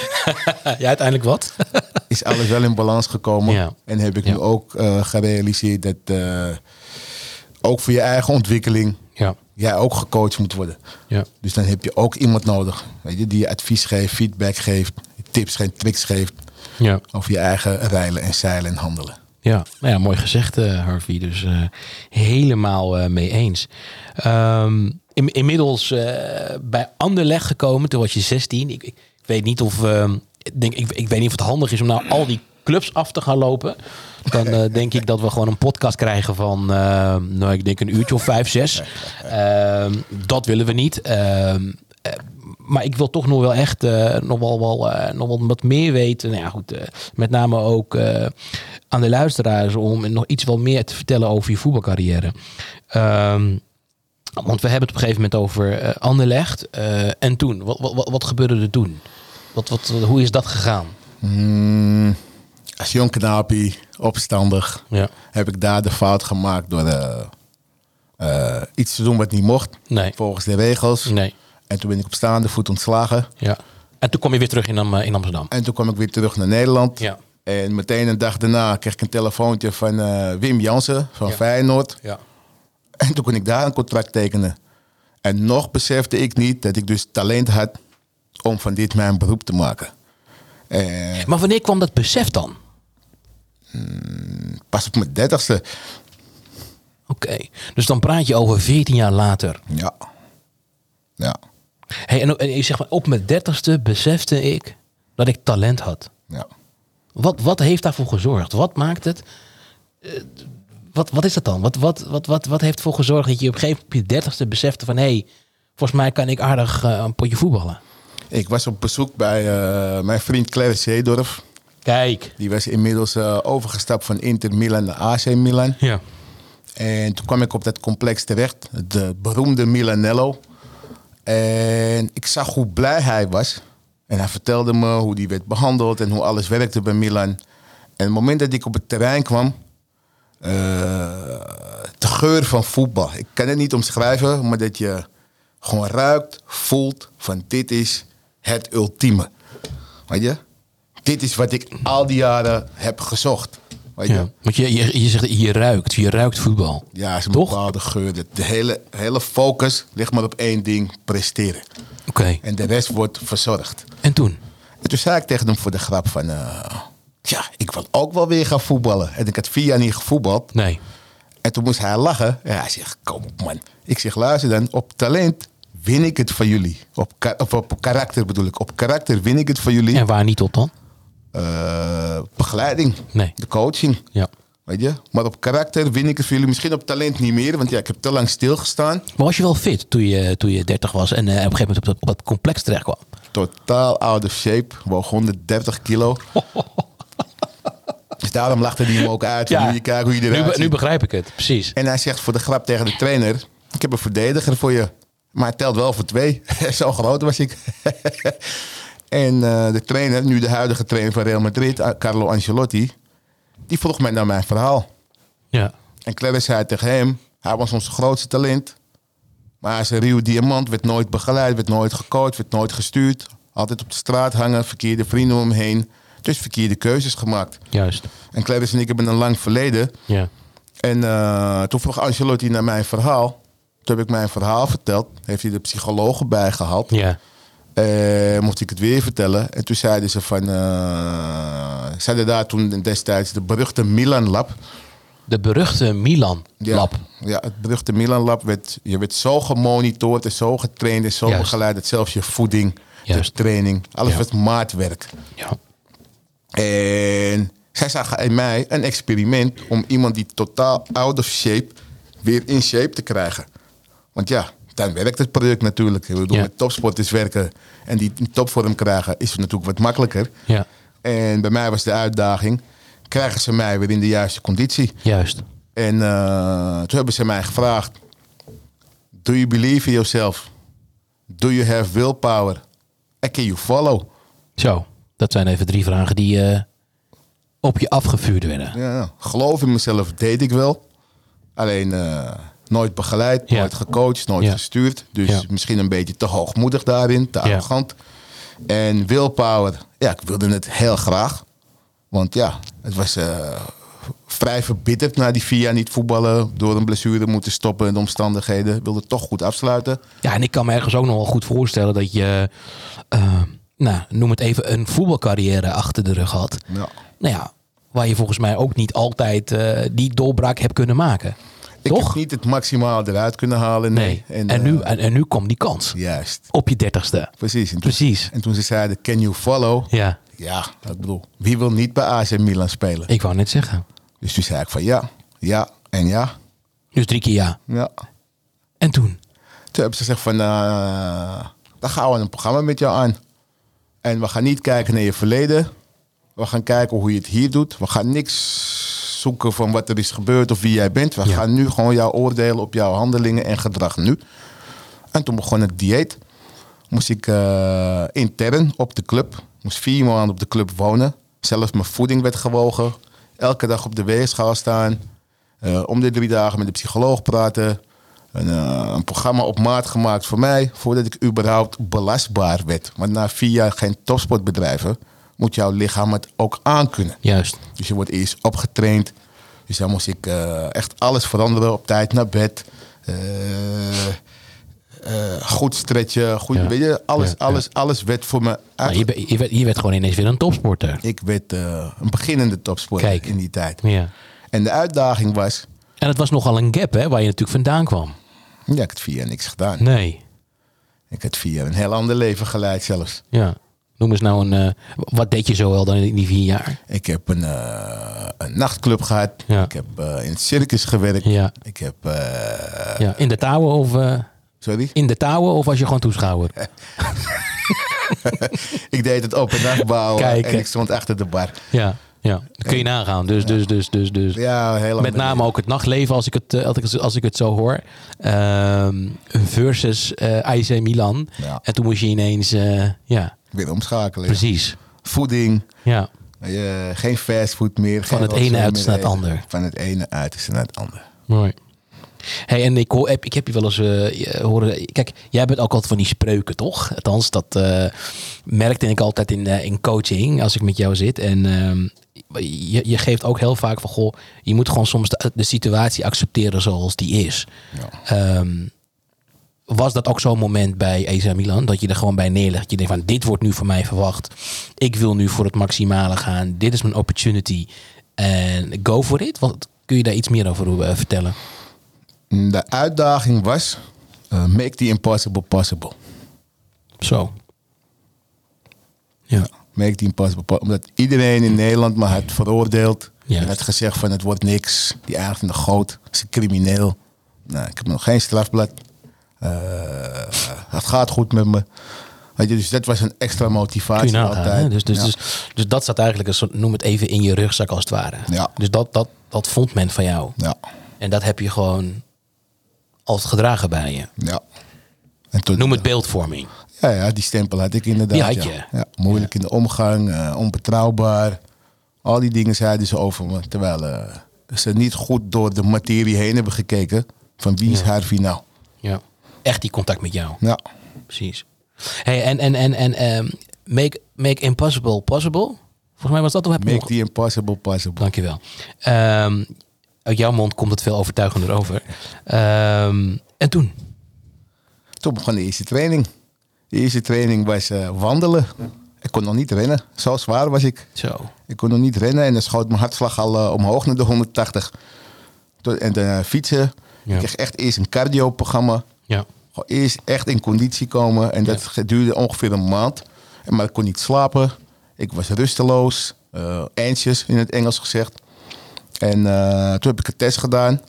A: ja, uiteindelijk wat?
C: is alles wel in balans gekomen.
A: Ja.
C: En heb ik
A: Ja.
C: nu ook eh, gerealiseerd dat eh, ook voor je eigen ontwikkeling
A: ja.
C: jij ook gecoacht moet worden.
A: Ja.
C: Dus dan heb je ook iemand nodig weet je, die je advies geeft, feedback geeft, tips en tricks geeft
A: Ja.
C: over je eigen rijlen en zeilen en handelen.
A: Ja, nou ja, mooi gezegd, eh, Harvey. Dus eh, helemaal eh, mee eens. Ehm, in- inmiddels eh, bij Anderlecht gekomen, toen was je 16. Ik, ik weet niet of ehm, ik denk, ik, ik weet niet of het handig is om nou al die clubs af te gaan lopen. Dan eh, denk ik dat we gewoon een podcast krijgen van, ehm, nou, ik denk een uurtje of vijf, zes. Ehm, dat willen we niet. Ehm, eh, maar ik wil toch nog wel echt eh, nog, wel, wel, eh, nog wel wat meer weten. Nou ja, goed, eh, met name ook eh, aan de luisteraars om nog iets wel meer te vertellen over je voetbalcarrière. Ehm, want we hebben het op een gegeven moment over eh Anderlecht. Eh, en toen, wat, wat, wat, wat gebeurde er toen? Wat, wat, hoe is dat gegaan?
C: Mm, als jong knaapie, opstandig,
A: Ja.
C: heb ik daar de fout gemaakt door eh, eh, iets te doen wat niet mocht.
A: Nee.
C: Volgens de regels.
A: Nee.
C: En toen ben ik op staande voet ontslagen.
A: Ja. En toen kom je weer terug in, Am- in Amsterdam.
C: En toen kwam ik weer terug naar Nederland.
A: Ja.
C: En meteen een dag daarna kreeg ik een telefoontje van eh, Wim Jansen van
A: Ja.
C: Feyenoord.
A: Ja.
C: En toen kon ik daar een contract tekenen. En nog besefte ik niet dat ik dus talent had om van dit mijn beroep te maken. En
A: Maar wanneer kwam dat besef dan?
C: pas op mijn dertigste.
A: Oké. Dus dan praat je over 14 jaar later.
C: Ja. Ja.
A: Hey, en, en je zegt maar, op mijn dertigste besefte ik dat ik talent had.
C: Ja.
A: Wat, wat heeft daarvoor gezorgd? Wat maakt het? eh, wat, wat is dat dan? Wat, wat, wat, wat, wat heeft ervoor gezorgd dat je op een gegeven moment op je dertigste besefte van... hé, hey, volgens mij kan ik aardig eh, een potje voetballen.
C: Ik was op bezoek bij eh, mijn vriend Clarence Zeedorf.
A: Kijk.
C: Die was inmiddels eh, overgestapt van Inter Milan naar AC Milan.
A: Ja.
C: En toen kwam ik op dat complex terecht, de beroemde Milanello. En ik zag hoe blij hij was. En hij vertelde me hoe die werd behandeld en hoe alles werkte bij Milan. En het moment dat ik op het terrein kwam, eh, de geur van voetbal. Ik kan het niet omschrijven, maar dat je gewoon ruikt, voelt van dit is het ultieme. Weet je? Dit is wat ik al die jaren heb gezocht. Weet je?
A: ja. Want je, je, je zegt, je ruikt. Je ruikt voetbal.
C: Ja, is een
A: Toch?
C: bepaalde geur. De, de hele, hele focus ligt maar op één ding, presteren.
A: Oké.
C: En de rest wordt verzorgd.
A: En toen?
C: En toen zei ik tegen hem voor de grap van... eh, ja, ik wil ook wel weer gaan voetballen. En ik had vier jaar niet gevoetbald.
A: Nee.
C: En toen moest hij lachen. En hij zegt, kom op man. Ik zeg, luister dan, op talent win ik het van jullie. Op, ka- of op karakter bedoel ik. Op karakter win ik het van jullie.
A: En waar niet op dan?
C: Eh, begeleiding.
A: Nee.
C: De coaching.
A: Ja.
C: Weet je? Maar op karakter win ik het voor jullie. Misschien op talent niet meer, want ja, ik heb te lang stilgestaan.
A: Maar was je wel fit toen je, toen je 30 was en eh, op een gegeven moment op dat, op dat complex terecht kwam?
C: Totaal out of shape. Woog 130 kilo. dus daarom lachte hij hem ook uit. Ja. Je kijkt hoe je
A: nu,
C: eruit
A: be- nu
C: ziet.
A: begrijp ik het, precies.
C: En hij zegt voor de grap tegen de trainer... Ik heb een verdediger voor je. Maar hij telt wel voor twee. Zo groot was ik. en eh, de trainer, nu de huidige trainer van Real Madrid... Carlo Ancelotti... Die vroeg mij naar mijn verhaal.
A: Ja.
C: En Clarence zei tegen hem, hij was ons grootste talent. Maar hij is een ruw diamant, werd nooit begeleid, werd nooit gecoacht, werd nooit gestuurd. Altijd op de straat hangen, verkeerde vrienden om hem heen. Dus verkeerde keuzes gemaakt.
A: Juist.
C: En Clarence en ik hebben een lang verleden.
A: Ja.
C: En eh, toen vroeg Ancelotti naar mijn verhaal. Toen heb ik mijn verhaal verteld. Heeft hij de psychologen bijgehaald.
A: Ja.
C: Eh, mocht ik het weer vertellen. En toen zeiden ze van... eh zeiden daar toen destijds de beruchte Milan Lab.
A: De beruchte Milan
C: Ja,
A: lab.
C: Ja, het beruchte Milan Lab. Werd, je werd zo gemonitord en zo getraind en zo
A: Juist.
C: begeleid. Dat zelfs je voeding, je
A: Juist.
C: training, alles
A: Ja.
C: werd maatwerk.
A: Ja.
C: En zij zagen in mij een experiment om iemand die totaal out of shape weer in shape te krijgen. Want ja, dan werkt het product natuurlijk. Ik bedoel,
A: Ja.
C: met topsporters werken en die in topvorm krijgen is natuurlijk wat makkelijker.
A: Ja.
C: En bij mij was de uitdaging, krijgen ze mij weer in de juiste conditie?
A: Juist.
C: En eh, toen hebben ze mij gevraagd: Do you believe in yourself? Do you have willpower? En can you follow?
A: Zo. Dat zijn even drie vragen die eh, op je afgevuurd werden.
C: Ja, ja. geloof in mezelf deed ik wel. Alleen eh, nooit begeleid,
A: Ja.
C: nooit gecoacht, nooit
A: Ja.
C: gestuurd. Dus
A: Ja.
C: misschien een beetje te hoogmoedig daarin, te
A: Ja.
C: arrogant. En willpower, ja, ik wilde het heel graag. Want ja, het was eh, vrij verbitterd na die vier jaar niet voetballen. Door een blessure moeten stoppen en de omstandigheden. Ik wilde het toch goed afsluiten.
A: Ja, en ik kan me ergens ook nog wel goed voorstellen dat je, eh, nou, noem het even, een voetbalcarrière achter de rug had.
C: Ja.
A: Nou ja, waar je volgens mij ook niet altijd eh, die doorbraak hebt kunnen maken.
C: Ik
A: Toch?
C: heb niet het maximaal eruit kunnen halen. Nee.
A: Nee. En, nu,
C: eh,
A: en, en nu kwam die kans.
C: juist,
A: Op je dertigste.
C: precies. En toen,
A: Precies.
C: En toen ze zeiden, can you follow?
A: Ja,
C: Ja, ik bedoel, wie wil niet bij AC Milan spelen?
A: ik wou net zeggen.
C: Dus toen zei ik van ja, ja en ja.
A: Dus drie keer ja.
C: ja.
A: En toen?
C: Toen hebben ze gezegd van, eh, dan gaan we een programma met jou aan. En we gaan niet kijken naar je verleden. We gaan kijken hoe je het hier doet. We gaan niks zoeken van wat er is gebeurd of wie jij bent. We
A: Ja.
C: gaan nu gewoon jou oordelen op jouw handelingen en gedrag nu. En toen begon het dieet. Moest ik eh, intern op de club. Moest vier maanden op de club wonen. Zelfs mijn voeding werd gewogen. Elke dag op de weegschaal staan. Eh, om de drie dagen met de psycholoog praten. Een, eh, een programma op maat gemaakt voor mij. Voordat ik überhaupt belastbaar werd. Want na vier jaar geen topsportbedrijven. Moet jouw lichaam het ook aankunnen.
A: Juist.
C: Dus je wordt eerst opgetraind. Dus dan moest ik eh, echt alles veranderen. Op tijd naar bed. Eh, eh, goed stretchen. Goed,
A: Ja.
C: Weet je, alles,
A: Ja, ja.
C: alles, alles werd voor me
A: Nou, je,
C: uit.
A: be- je werd, je werd gewoon ineens weer een topsporter.
C: Ik werd eh, een beginnende topsporter
A: Kijk.
C: in die tijd.
A: Ja.
C: En de uitdaging was...
A: En het was nogal een gap, hè, waar je natuurlijk vandaan kwam.
C: Ja, ik had vier jaar niks gedaan.
A: Nee.
C: Ik had vier jaar een heel ander leven geleid zelfs.
A: Ja. Noem eens nou een. eh, wat deed je zo wel dan in die vier jaar?
C: Ik heb een, eh, een nachtclub gehad.
A: Ja.
C: Ik heb eh, in het circus gewerkt.
A: Ja.
C: Ik heb... eh,
A: Ja. In de touwen of. eh,
C: sorry?
A: in de touwen of was je gewoon toeschouwer?
C: ik deed het open nachtbouwen
A: Kijk, hè.
C: en ik stond achter de bar.
A: Ja, ja. Dat kun je nagaan. Dus, dus, dus, dus, dus.
C: Ja, heel lang
A: Met name ook het nachtleven, als ik het, eh, als ik, als ik het zo hoor. Ehm, versus eh AC Milan.
C: Ja.
A: En toen moest je ineens... eh, ja,
C: Weer omschakelen.
A: precies.
C: Voeding.
A: Ja,
C: eh, geen fastfood meer.
A: Van
C: geen
A: het ene
C: rotzooi
A: uiterste
C: meer
A: naar het
C: eten.
A: ander.
C: Van het ene uiterste naar het ander.
A: mooi. Hey, en ik, hoor, heb, ik heb je wel eens eh, je- horen... Kijk, jij bent ook altijd van die spreuken, toch? Althans, dat eh, merkte ik altijd in, eh, in coaching als ik met jou zit. En ehm, je, je geeft ook heel vaak van... Goh, je moet gewoon soms de, de situatie accepteren zoals die is. Ehm, was dat ook zo'n moment bij AC Milan? Dat je er gewoon bij neerlegt. Je denkt van dit wordt nu van mij verwacht. Ik wil nu voor het maximale gaan. Dit is mijn opportunity. En go for it. Wat, kun je daar iets meer over eh, vertellen?
C: Mm, De uitdaging was, eh, make the impossible possible.
A: Zo. Ja.
C: Make the impossible possible. Omdat iedereen in Nederland me had veroordeeld.
A: Juist.
C: En had gezegd van het wordt niks. Die aard van de goot is een crimineel. Nou, ik heb nog geen strafblad. Eh, het gaat goed met me. Weet je, dus dat was een extra
A: Kun
C: motivatie
A: je nagaan.
C: altijd.
A: hè? Dus, dus,
C: Ja.
A: dus, dus dat zat eigenlijk, een soort, noem het even, in je rugzak als het ware.
C: Ja.
A: Dus dat, dat, dat vond men van jou.
C: ja,
A: En dat heb je gewoon als gedragen bij je.
C: ja. En toen,
A: Noem het beeldvorming.
C: Ja, ja, die stempel had ik inderdaad.
A: Die had
C: ja.
A: je.
C: Ja, moeilijk in de omgang, eh, onbetrouwbaar. Al die dingen zeiden ze over me. Terwijl eh, ze niet goed door de materie heen hebben gekeken. Van wie is Harvey nou?
A: Ja. Echt die contact met jou.
C: Ja.
A: precies. Hey, en en, en, en ehm, make, make Impossible Possible. Volgens mij was dat al heb je
C: Make
A: nog-
C: the impossible possible.
A: Dankjewel. Ehm uit jouw mond komt het veel overtuigender over. Ehm, en toen?
C: Toen begon de eerste training. De eerste training was eh, wandelen. Ik kon nog niet rennen. Zo zwaar was ik.
A: Zo.
C: Ik kon nog niet rennen en dan schoot mijn hartslag al eh, omhoog naar de 180. Toen- En daarna fietsen.
A: Ja.
C: Ik kreeg echt eerst een cardioprogramma.
A: Ja.
C: Gewoon eerst echt in conditie komen. En dat duurde ongeveer een maand. En Maar ik kon niet slapen. Ik was rusteloos. eh anxious in het Engels gezegd. En eh, toen heb ik een test gedaan.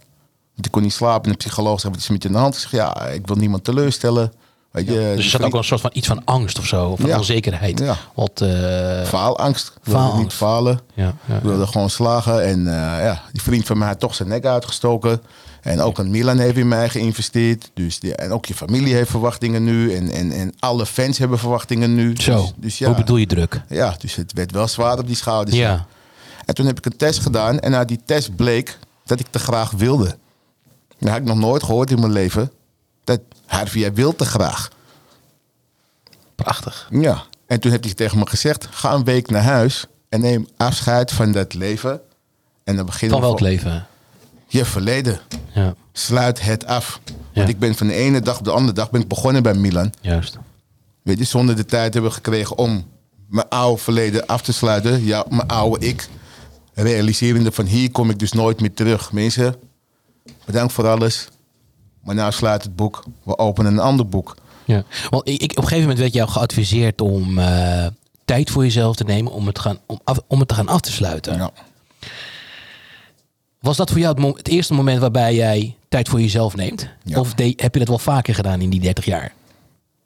C: Want ik kon niet slapen. En de psycholoog zei, wat is er met je aan de hand? Ik zeg, ja, ik wil niemand teleurstellen. Weet je,
A: Dus er
C: Eh, die
A: zat ook
C: vriend-
A: wel een soort van iets van angst of zo. Van
C: Ja.
A: onzekerheid.
C: Ja.
A: Wat, eh,
C: faalangst. Ik wilde
A: Faalangst.
C: niet falen.
A: ja, ja.
C: Ik wilde gewoon slagen. En eh, ja, die vriend van mij had toch zijn nek uitgestoken. En ook een Milan heeft in mij geïnvesteerd. Dus die- en ook je familie heeft verwachtingen nu. En, en, en alle fans hebben verwachtingen nu.
A: Zo.
C: Dus, dus ja, Dus
A: Hoe bedoel je druk?
C: ja, dus het werd wel zwaar op die schouders.
A: Ja.
C: En toen heb ik een test gedaan. En uit die test bleek dat ik te graag wilde. Dat had ik nog nooit gehoord in mijn leven. Dat Harvey, jij wilt te graag.
A: Prachtig.
C: Ja. En toen heb hij tegen me gezegd: ga een week naar huis en neem afscheid van dat leven. En dan beginnen
A: Van
C: we
A: welk
C: voor-
A: leven?
C: Je verleden.
A: Ja.
C: Sluit het af. Want
A: Ja.
C: ik ben van de ene dag op de andere dag ben ik begonnen bij Milan.
A: Juist.
C: Weet je, zonder de tijd hebben we gekregen om mijn oude verleden af te sluiten. Ja, mijn oude ik. Realiserende van hier kom ik dus nooit meer terug. Mensen, bedankt voor alles. Maar nou sluit het boek. We openen een ander boek.
A: Ja. Want ik, ik- op een gegeven moment werd jou geadviseerd om eh, tijd voor jezelf te nemen om het, gaan, om, af, om het te gaan af te sluiten.
C: Ja.
A: Was dat voor jou het, mo- het eerste moment waarbij jij tijd voor jezelf neemt?
C: Ja.
A: Of de- heb je dat wel vaker gedaan in die 30 jaar?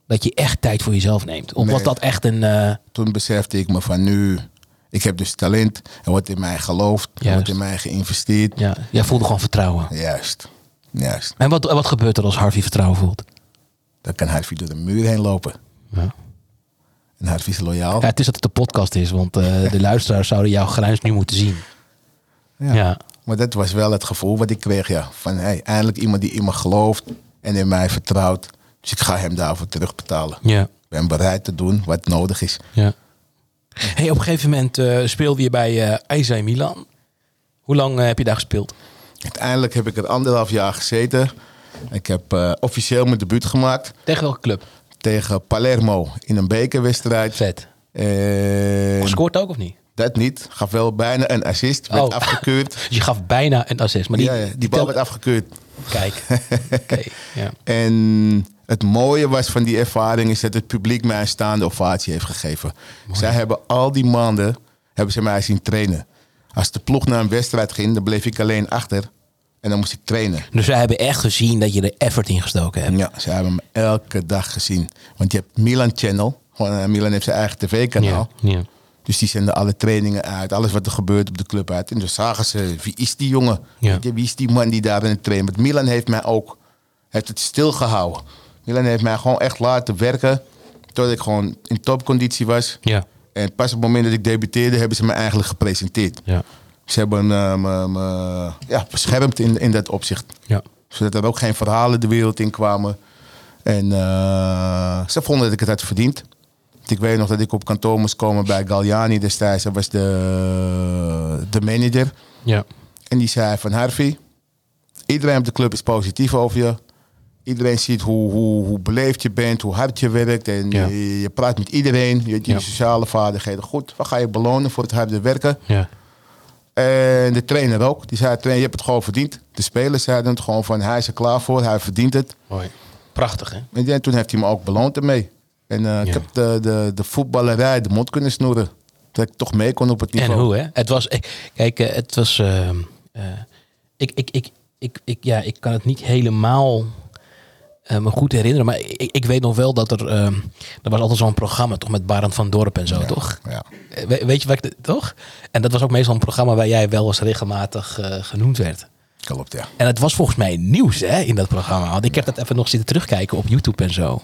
A: Dat je echt tijd voor jezelf neemt? Of was
C: Nee.
A: dat echt een. eh,
C: toen besefte ik me van nu, ik heb dus talent. Er wordt in mij geloofd, er
A: Juist.
C: wordt in mij geïnvesteerd.
A: ja, jij voelde gewoon vertrouwen.
C: Juist, juist.
A: En wat, wat gebeurt er als Harvey vertrouwen voelt?
C: Dan kan Harvey door de muur heen lopen.
A: Ja.
C: Oh. En Harvey is loyaal.
A: het is dat het een podcast is, want eh, de luisteraars zouden jouw grijns nu moeten zien. Ja. ja.
C: Maar dat was wel het gevoel wat ik kreeg, ja. Van hey, eindelijk iemand die in me gelooft en in mij vertrouwt. Dus ik ga hem daarvoor terugbetalen.
A: ja.
C: Ik ben bereid te doen wat nodig is.
A: Ja. Hey, op een gegeven moment eh, speelde je bij eh AC Milan. Hoe lang eh, heb je daar gespeeld?
C: Uiteindelijk heb ik er anderhalf jaar gezeten. Ik heb eh, officieel mijn debuut gemaakt
A: Tegen welke club?
C: tegen Palermo in een bekerwedstrijd.
A: Vet.
C: En
A: Gescoord ook of niet?
C: dat niet. Gaf wel bijna een assist. Werd
A: Oh.
C: afgekeurd.
A: Dus je gaf bijna een assist. Maar die,
C: ja, ja, die bal
A: tel-
C: werd afgekeurd.
A: Kijk. Oké, ja.
C: En het mooie was van die ervaring is dat het publiek mij een staande ovatie heeft gegeven. Zij hebben al die maanden hebben ze mij zien trainen. Als de ploeg naar een wedstrijd ging, dan bleef ik alleen achter. En dan moest ik trainen.
A: Dus zij hebben echt gezien dat je er effort in gestoken hebt.
C: Ja, ze hebben me elke dag gezien. Want je hebt Milan Channel, Gewoon, eh, Milan heeft zijn eigen tv-kanaal.
A: Ja, ja.
C: Dus die zenden alle trainingen uit, alles wat er gebeurt op de club uit. En dus zagen ze, wie is die jongen?
A: Ja.
C: Weet je, Wie is die man die daar in het trainen? Want Milan heeft mij ook, heeft het stilgehouden. Milan heeft mij gewoon echt laten werken, tot ik gewoon in topconditie was.
A: Ja.
C: En pas op het moment dat ik debuteerde, hebben ze me eigenlijk gepresenteerd.
A: Ja.
C: Ze hebben eh, me, me, ja, beschermd in, in dat opzicht.
A: Ja.
C: Zodat er ook geen verhalen de wereld in kwamen. En eh, ze vonden dat ik het had verdiend. Want Ik weet nog dat ik op kantoor moest komen bij Galliani destijds. Dat was de, de manager.
A: Ja.
C: En die zei van Harvey, iedereen op de club is positief over je. Iedereen ziet hoe, hoe, hoe beleefd je bent, hoe hard je werkt. En
A: Ja.
C: je, je praat met iedereen. Je hebt je
A: Ja.
C: sociale vaardigheden goed. Wat ga je belonen voor het harde werken?
A: Ja.
C: En de trainer ook. Die zei, trainer, je hebt het gewoon verdiend. De spelers zeiden het gewoon van, hij is er klaar voor. Hij verdient het.
A: Mooi. Prachtig, hè?
C: En ja, toen heeft hij me ook beloond ermee. En eh, ik heb de, de, de voetballerij de mond kunnen snoeren. Dat ik toch mee kon op het
A: En
C: niveau.
A: hoe, hè? Het was, eh, kijk, eh, het was, ehm, eh, ik, ik, ik, ik, ik, ja, ik kan het niet helemaal eh, me goed herinneren, maar ik, ik weet nog wel dat er, ehm, er was altijd zo'n programma toch met Barend van Dorp en zo, toch?
C: Ja.
A: Eh, we- weet je wat ik, de- toch? En dat was ook meestal een programma waar jij wel eens regelmatig eh, genoemd werd.
C: Klopt, ja.
A: En het was volgens mij nieuws, hè, in dat programma. Want ik heb dat even nog zitten terugkijken op YouTube en zo.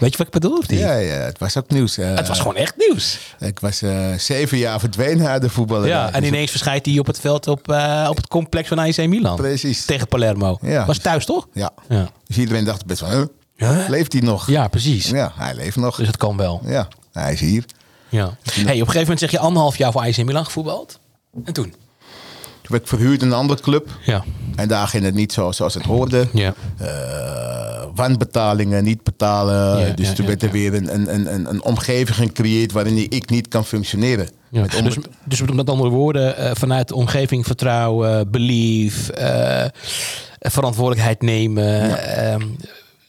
A: Weet je wat ik bedoel, of niet?
C: Ja, ja, het was ook nieuws. eh.
A: Het was gewoon echt nieuws.
C: Ik was eh, zeven jaar verdwenen uit de voetballerij.
A: Ja, en
C: Dus
A: ineens verschijnt hij op het veld op, eh, op het complex van AC Milan.
C: Precies.
A: Tegen Palermo.
C: Ja.
A: Was thuis, toch?
C: Ja.
A: Ja.
C: Dus iedereen dacht best van, huh?
A: Huh?
C: leeft hij nog?
A: Ja, precies.
C: Ja, hij leeft nog.
A: Dus het kan wel.
C: Ja, hij is hier.
A: Ja. Hey, op een gegeven moment zeg je anderhalf jaar voor AC Milan gevoetbald. En toen?
C: Toen werd ik verhuurd in een andere club.
A: Ja.
C: En daar ging het niet zo, zoals het hoorde.
A: Ja.
C: Eh, wanbetalingen, niet betalen.
A: Ja,
C: dus
A: ja,
C: toen
A: ja,
C: werd er
A: ja.
C: weer een, een, een, een, een omgeving gecreëerd waarin ik niet kan functioneren.
A: Ja.
C: Met
A: Dus, dus met andere woorden, eh, vanuit de omgeving vertrouwen, belief, eh, verantwoordelijkheid nemen. ehm,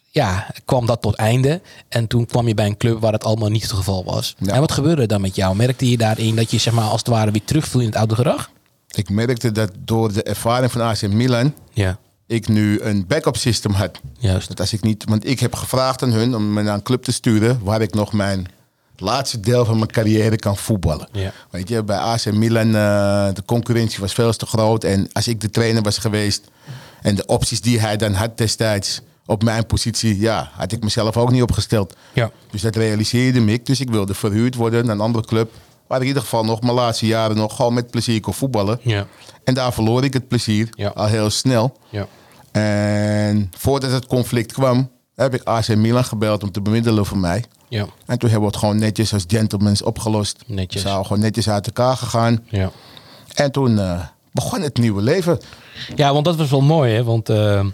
A: ja, kwam dat tot einde. En toen kwam je bij een club waar het allemaal niet het geval was.
C: Ja.
A: En wat gebeurde er dan met jou? Merkte je daarin dat je zeg maar, als het ware weer terugviel in het oude gedrag?
C: Ik merkte dat door de ervaring van AC Milan
A: Ja,
C: ik nu een backup system had.
A: juist.
C: Dat als ik niet, want ik heb gevraagd aan hun om me naar een club te sturen waar ik nog mijn laatste deel van mijn carrière kan voetballen.
A: Ja.
C: Weet je, bij AC Milan, eh, de concurrentie was veel te groot. En als ik de trainer was geweest en de opties die hij dan had destijds op mijn positie, ja, had ik mezelf ook niet opgesteld.
A: Ja.
C: Dus dat realiseerde me ik. Dus ik wilde verhuurd worden naar een andere club. Waar ik in ieder geval nog mijn laatste jaren nog gewoon met plezier kon voetballen.
A: Ja.
C: En daar verloor ik het plezier
A: Ja.
C: al heel snel.
A: Ja.
C: En voordat het conflict kwam, heb ik AC Milan gebeld om te bemiddelen voor mij.
A: Ja.
C: En toen hebben we het gewoon netjes als gentlemen opgelost.
A: Netjes.
C: We zijn gewoon netjes uit elkaar gegaan.
A: Ja.
C: En toen eh, begon het nieuwe leven.
A: Ja, want dat was wel mooi, hè? Want eh,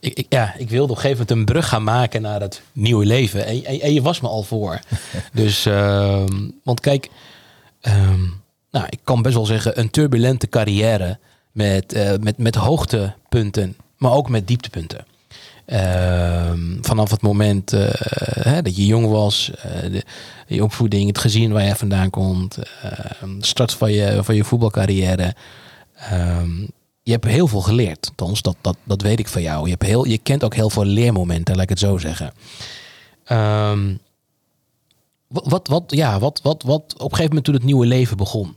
A: ik, ik, ja, ik wilde op een gegeven moment een brug gaan maken naar het nieuwe leven. En, en, en je was me al voor. dus, ehm, want kijk, ehm, nou, ik kan best wel zeggen, een turbulente carrière met, eh, met, met hoogtepunten, maar ook met dieptepunten. Ehm, vanaf het moment eh, hè, dat je jong was, eh, de, je opvoeding, het gezin waar je vandaan komt, ehm, de start van je, van je voetbalcarrière. Ehm, je hebt heel veel geleerd. Althans, dat, dat, dat weet ik van jou. Je, hebt heel, je kent ook heel veel leermomenten, laat ik het zo zeggen. Ehm, wa- wat, wat, ja, wat, wat, wat, op een gegeven moment toen het nieuwe leven begon.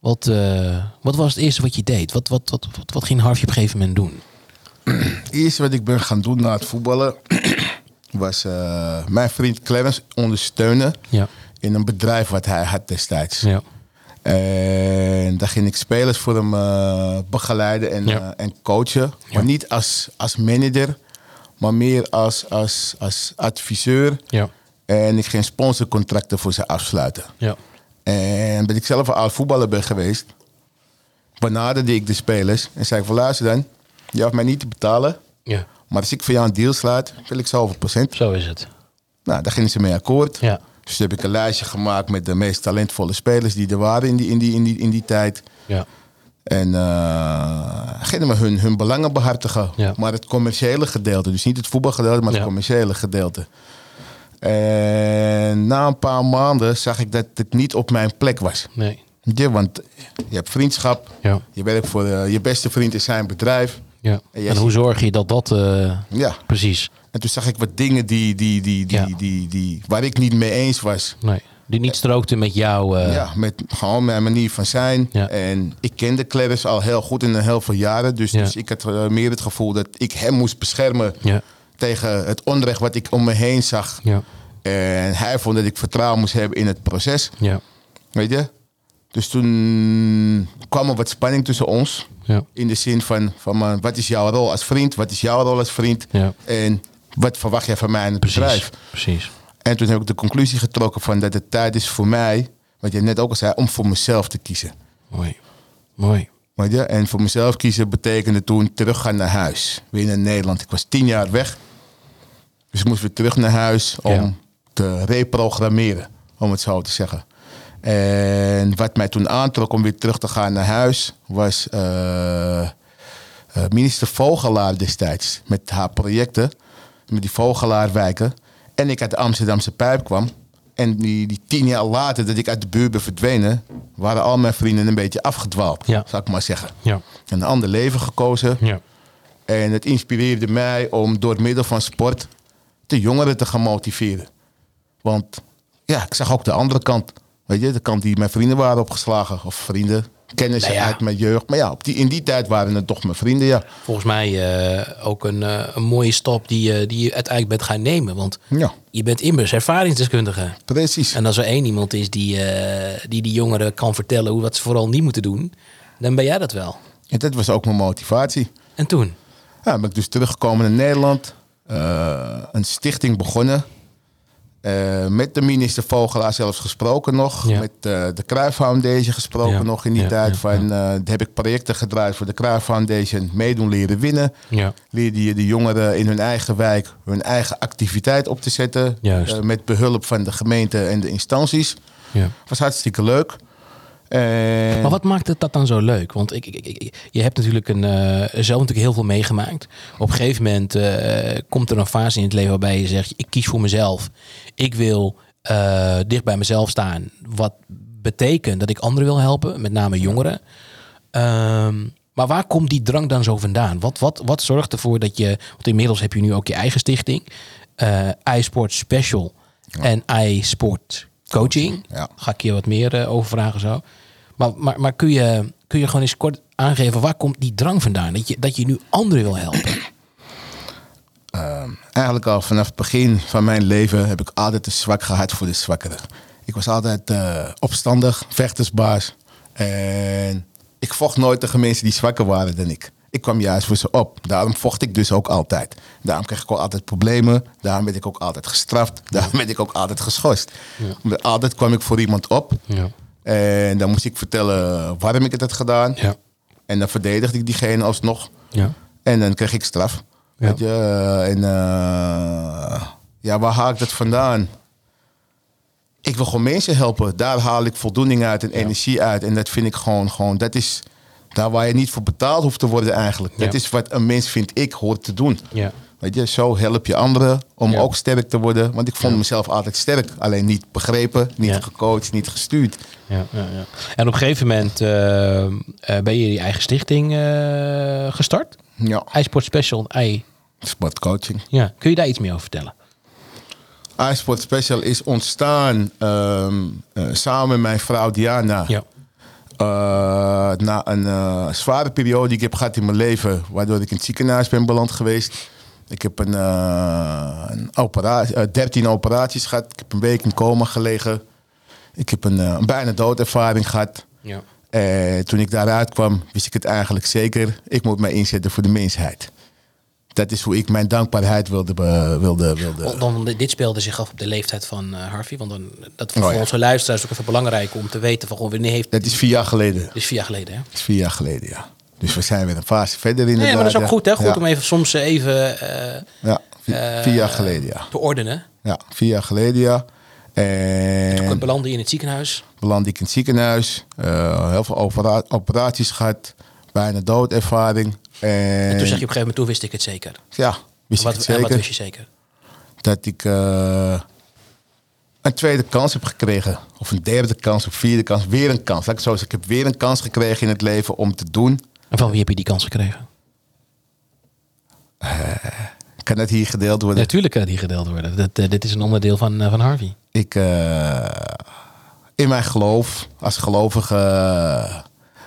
A: Wat, eh, wat was het eerste wat je deed? Wat, wat, wat, wat, wat ging Harvey op een gegeven moment doen?
C: Het eerste wat ik ben gaan doen na het voetballen was eh, mijn vriend Clarence ondersteunen
A: Ja,
C: in een bedrijf wat hij had destijds.
A: ja,
C: En daar ging ik spelers voor hem eh, begeleiden en,
A: Ja.
C: eh, en coachen. Maar niet als, als manager, maar meer als, als, als adviseur.
A: ja,
C: En ik ging sponsorcontracten voor ze afsluiten.
A: ja,
C: En ben ik zelf een oud voetballer ben geweest, benaderde ik de spelers en zei ik van luister dan, je hoeft mij niet te betalen.
A: ja.
C: Maar als ik voor jou een deal sluit, wil ik zoveel procent.
A: Zo is het.
C: Nou, daar gingen ze mee akkoord.
A: Ja,
C: Dus toen heb ik een lijstje gemaakt met de meest talentvolle spelers die er waren in die, in die, in die, in die tijd.
A: ja,
C: En eh gingen we hun, hun belangen behartigen.
A: Ja.
C: Maar het commerciële gedeelte, dus niet het voetbalgedeelte, maar het
A: Ja.
C: commerciële gedeelte. En na een paar maanden zag ik dat het niet op mijn plek was.
A: nee,
C: Weet je, want je hebt vriendschap,
A: ja,
C: je werkt voor eh, je beste vriend in zijn bedrijf.
A: ja.
C: En jij
A: En hoe zorg je dat dat... eh,
C: Ja,
A: precies.
C: en En toen zag ik wat dingen die, die, die, die,
A: Ja.
C: die, die, waar ik niet mee eens was.
A: Nee. Die niet strookte met jou. eh,
C: Ja, met gewoon mijn manier van zijn.
A: Ja.
C: En ik kende Clarence al heel goed in een heel veel jaren. Dus,
A: Ja.
C: dus ik had eh, meer het gevoel dat ik hem moest beschermen
A: Ja.
C: tegen het onrecht wat ik om me heen zag.
A: Ja.
C: En hij vond dat ik vertrouwen moest hebben in het proces.
A: Ja.
C: Weet je? Dus toen kwam er wat spanning tussen ons.
A: Ja.
C: In de zin van, van man, wat is jouw rol als vriend? Wat is jouw rol als vriend?
A: Ja.
C: En wat verwacht jij van mij in het bedrijf?
A: Precies. Precies.
C: En toen heb ik de conclusie getrokken van dat het tijd is voor mij, wat je net ook al zei, om voor mezelf te kiezen.
A: Mooi. Mooi.
C: Weet je? En voor mezelf kiezen betekende toen teruggaan naar huis. Weer naar Nederland. Ik was tien jaar weg. Dus ik moest weer terug naar huis om
A: Ja.
C: te reprogrammeren, om het zo te zeggen. En wat mij toen aantrok om weer terug te gaan naar huis, was eh, eh, minister Vogelaar destijds. Met haar projecten, met die Vogelaarwijken. En ik uit de Amsterdamse pijp kwam. En die, die tien jaar later dat ik uit de buurt ben verdwenen, waren al mijn vrienden een beetje afgedwaald,
A: Ja.
C: zou ik maar zeggen.
A: Ja.
C: Een ander leven gekozen.
A: Ja.
C: En het inspireerde mij om door middel van sport de jongeren te gaan motiveren. Want ja, ik zag ook de andere kant. Weet je, de kant die mijn vrienden waren opgeslagen. Of vrienden, kennissen
A: Nou ja.
C: uit mijn jeugd. Maar ja, op die, in die tijd waren het toch mijn vrienden, ja.
A: Volgens mij eh, ook een, eh, een mooie stap die, je- die je uiteindelijk bent gaan nemen. Want
C: Ja,
A: je bent immers ervaringsdeskundige.
C: precies.
A: En als er één iemand is die, eh, die die jongeren kan vertellen hoe wat ze vooral niet moeten doen, dan ben jij dat wel.
C: En dat was ook mijn motivatie.
A: En toen?
C: Ja, ben ik dus teruggekomen naar Nederland. eh, een stichting begonnen. Eh, met de minister Vogelaar zelfs gesproken nog.
A: Ja.
C: Met eh, de Cruijff Foundation gesproken
A: Ja,
C: nog in die
A: ja,
C: tijd.
A: ja,
C: van, eh, heb ik projecten gedraaid voor de Cruijff Foundation. Meedoen leren winnen.
A: Ja.
C: Leerde je de jongeren in hun eigen wijk hun eigen activiteit op te zetten.
A: Juist.
C: eh, met behulp van de gemeente en de instanties.
A: ja.
C: Was hartstikke leuk. En-
A: Maar wat maakt het dat dan zo leuk? Want ik, ik, ik- ik- je hebt natuurlijk een, eh, zelf natuurlijk heel veel meegemaakt. Op een gegeven moment eh, komt er een fase in het leven waarbij je zegt: ik kies voor mezelf. Ik wil eh, dicht bij mezelf staan. Wat betekent dat ik anderen wil helpen, met name jongeren. Ehm, maar waar komt die drang dan zo vandaan? Wat, wat, wat zorgt ervoor dat je, want inmiddels heb je nu ook je eigen stichting, eh iSport Special en iSport Coaching.
C: Ja.
A: Ga ik je wat meer eh, over vragen zo. Maar, maar, maar kun, je, kun je gewoon eens kort aangeven waar komt die drang vandaan? Dat je, dat je nu anderen wil helpen.
C: Eigenlijk al vanaf het begin van mijn leven heb ik altijd een zwak gehad voor de zwakkeren. Ik was altijd eh, opstandig, vechtersbaas. En ik vocht nooit tegen mensen die zwakker waren dan ik. Ik kwam juist voor ze op. Daarom vocht ik dus ook altijd. Daarom kreeg ik ook altijd problemen. Daarom werd ik ook altijd gestraft. Daarom werd ik ook altijd geschorst. Omdat Altijd kwam ik voor iemand op.
A: Ja.
C: En dan moest ik vertellen waarom ik het had gedaan.
A: Ja.
C: En dan verdedigde ik diegene alsnog.
A: Ja.
C: En dan kreeg ik straf.
A: Ja.
C: Weet je, eh, en eh, ja, waar haal ik dat vandaan? Ik wil gewoon mensen helpen. Daar haal ik voldoening uit en energie uit. En dat vind ik gewoon, gewoon, dat is daar waar je niet voor betaald hoeft te worden eigenlijk. Dat
A: Ja.
C: is wat een mens, vind ik, hoort te doen.
A: Ja.
C: Weet je, zo help je anderen om
A: Ja.
C: ook sterk te worden. Want ik vond mezelf altijd sterk. Alleen niet begrepen, niet
A: Ja.
C: gecoacht, niet gestuurd.
A: Ja, ja, ja. En op een gegeven moment eh, eh, ben je je eigen stichting eh, gestart.
C: Ja,
A: iSport Special en i
C: sportcoaching.
A: Ja, kun je daar iets meer over vertellen?
C: iSport Special is ontstaan ehm, eh, samen met mijn vrouw Diana. Eh, na een eh, zware periode die ik heb gehad in mijn leven, waardoor ik in het ziekenhuis ben beland geweest. Ik heb een, eh, een opera- eh, 13 operaties gehad. Ik heb een week in coma gelegen. Ik heb een, eh, een bijna doodervaring gehad.
A: ja.
C: Eh, toen ik daaruit kwam, wist ik het eigenlijk zeker. Ik moet mij inzetten voor de mensheid. Dat is hoe ik mijn dankbaarheid wilde... be- wilde, wilde.
A: Want Dan, dit speelde zich af op de leeftijd van eh, Harvey. Want dan, dat voor
C: Oh ja.
A: onze luisteraars is ook even belangrijk om te weten van goh, wanneer heeft.
C: Dat is vier jaar geleden.
A: Dit is vier jaar geleden, hè?
C: is vier jaar geleden, ja. Dus we zijn weer een fase verder inderdaad.
A: Nee, maar dat is ook goed, hè? Goed
C: ja.
A: om even soms eh, even eh,
C: Ja, vi-
A: eh,
C: vier jaar geleden, ja.
A: te ordenen.
C: Ja, vier jaar geleden, ja.
A: Toen
C: En
A: belandde je in het ziekenhuis.
C: belandde ik in het ziekenhuis. eh, heel veel opera- operaties gehad. Bijna doodervaring. En,
A: En toen zeg je op een gegeven moment, toen wist ik het zeker. En
C: Ja, wist
A: wat,
C: ik het
A: en wat
C: zeker.
A: wist je zeker?
C: dat ik eh, een tweede kans heb gekregen. Of een derde kans, of vierde kans. Weer een kans. Laat ik het zo zeggen. Ik heb weer een kans gekregen in het leven om te doen.
A: En van wie heb je die kans gekregen?
C: Kan het hier gedeeld worden?
A: Natuurlijk kan die gedeeld worden. Dat, eh, dit is een onderdeel van, eh, van Harvey.
C: ik eh, in mijn geloof, als gelovige, eh,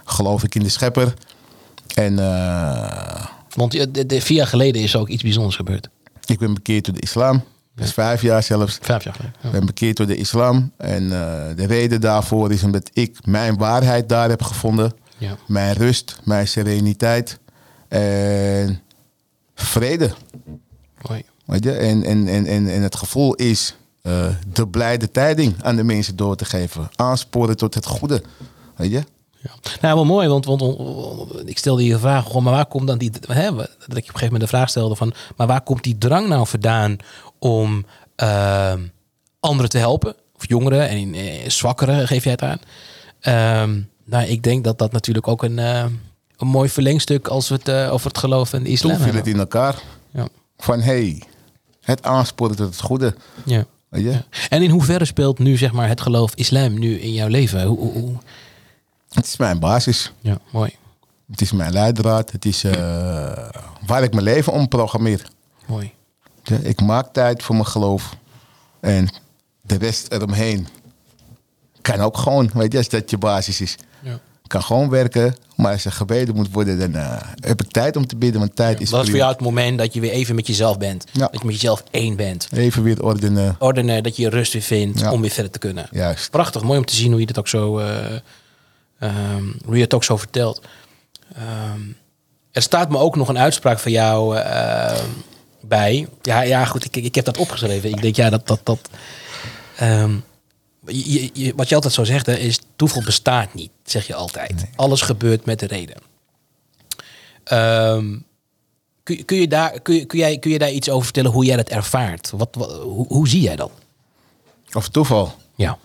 C: geloof ik in de schepper. En eh,
A: Want eh, de- de- vier jaar geleden is er ook iets bijzonders gebeurd.
C: ik ben bekeerd door de islam. Dat is vijf jaar zelfs.
A: Vijf jaar geleden.
C: Ik
A: Ja.
C: ben bekeerd door de islam. En eh, de reden daarvoor is omdat ik mijn waarheid daar heb gevonden.
A: Ja.
C: Mijn rust, mijn sereniteit en vrede.
A: Mooi.
C: Weet je? En, en, en, en, en het gevoel is eh, de blijde tijding aan de mensen door te geven. Aansporen tot het goede. Weet je?
A: Ja. Nou, wel mooi, want, want want ik stelde je de vraag, goh, maar waar komt dan die, hè, dat ik op een gegeven moment de vraag stelde van, maar waar komt die drang nou vandaan om ehm, anderen te helpen, of jongeren en in, eh, zwakkeren, geef jij het aan? Ehm, nou, ik denk dat dat natuurlijk ook een, eh, een mooi verlengstuk als we het eh, over het geloof en de
C: Toen
A: islam
C: viel
A: hebben.
C: het in elkaar.
A: Ja.
C: Van hé, hey, het aansporen tot het goede.
A: Ja.
C: Weet je?
A: Ja. En in hoeverre speelt nu zeg maar, het geloof islam nu in jouw leven? Hoe, hoe, hoe-
C: Het is mijn basis.
A: Ja, mooi.
C: Het is mijn leidraad. Het is eh, waar ik mijn leven om programmeer.
A: mooi.
C: Ja, ik maak tijd voor mijn geloof. En de rest eromheen. Kan ook gewoon, weet je, als dat je basis is.
A: Ja.
C: Kan gewoon werken, maar als er gebeden moet worden, dan eh, heb ik tijd om te bidden, want tijd
A: Dat
C: is
A: is voor
C: prima.
A: jou het moment dat je weer even met jezelf bent.
C: Ja.
A: Dat je met jezelf één bent.
C: Even weer eh, ordenen.
A: Ordenen, dat je je rust weer vindt
C: Ja.
A: om weer verder te kunnen.
C: Juist.
A: Prachtig, mooi om te zien hoe je dit ook zo, eh, ehm, hoe je het ook zo vertelt. Ehm, er staat me ook nog een uitspraak van jou ehm, bij. Ja, ja goed, ik, ik heb dat opgeschreven. Ik denk, ja, dat... dat, dat ehm, je- je- wat je altijd zo zegt, hè, is toeval bestaat niet, zeg je altijd. Alles gebeurt met de reden. Ehm, kun, je- kun, je daar, kun, je- kun, jij, kun je daar iets over vertellen hoe jij dat ervaart? Wat, wat- hoe, hoe zie jij dat?
C: Of toeval.
A: Ja.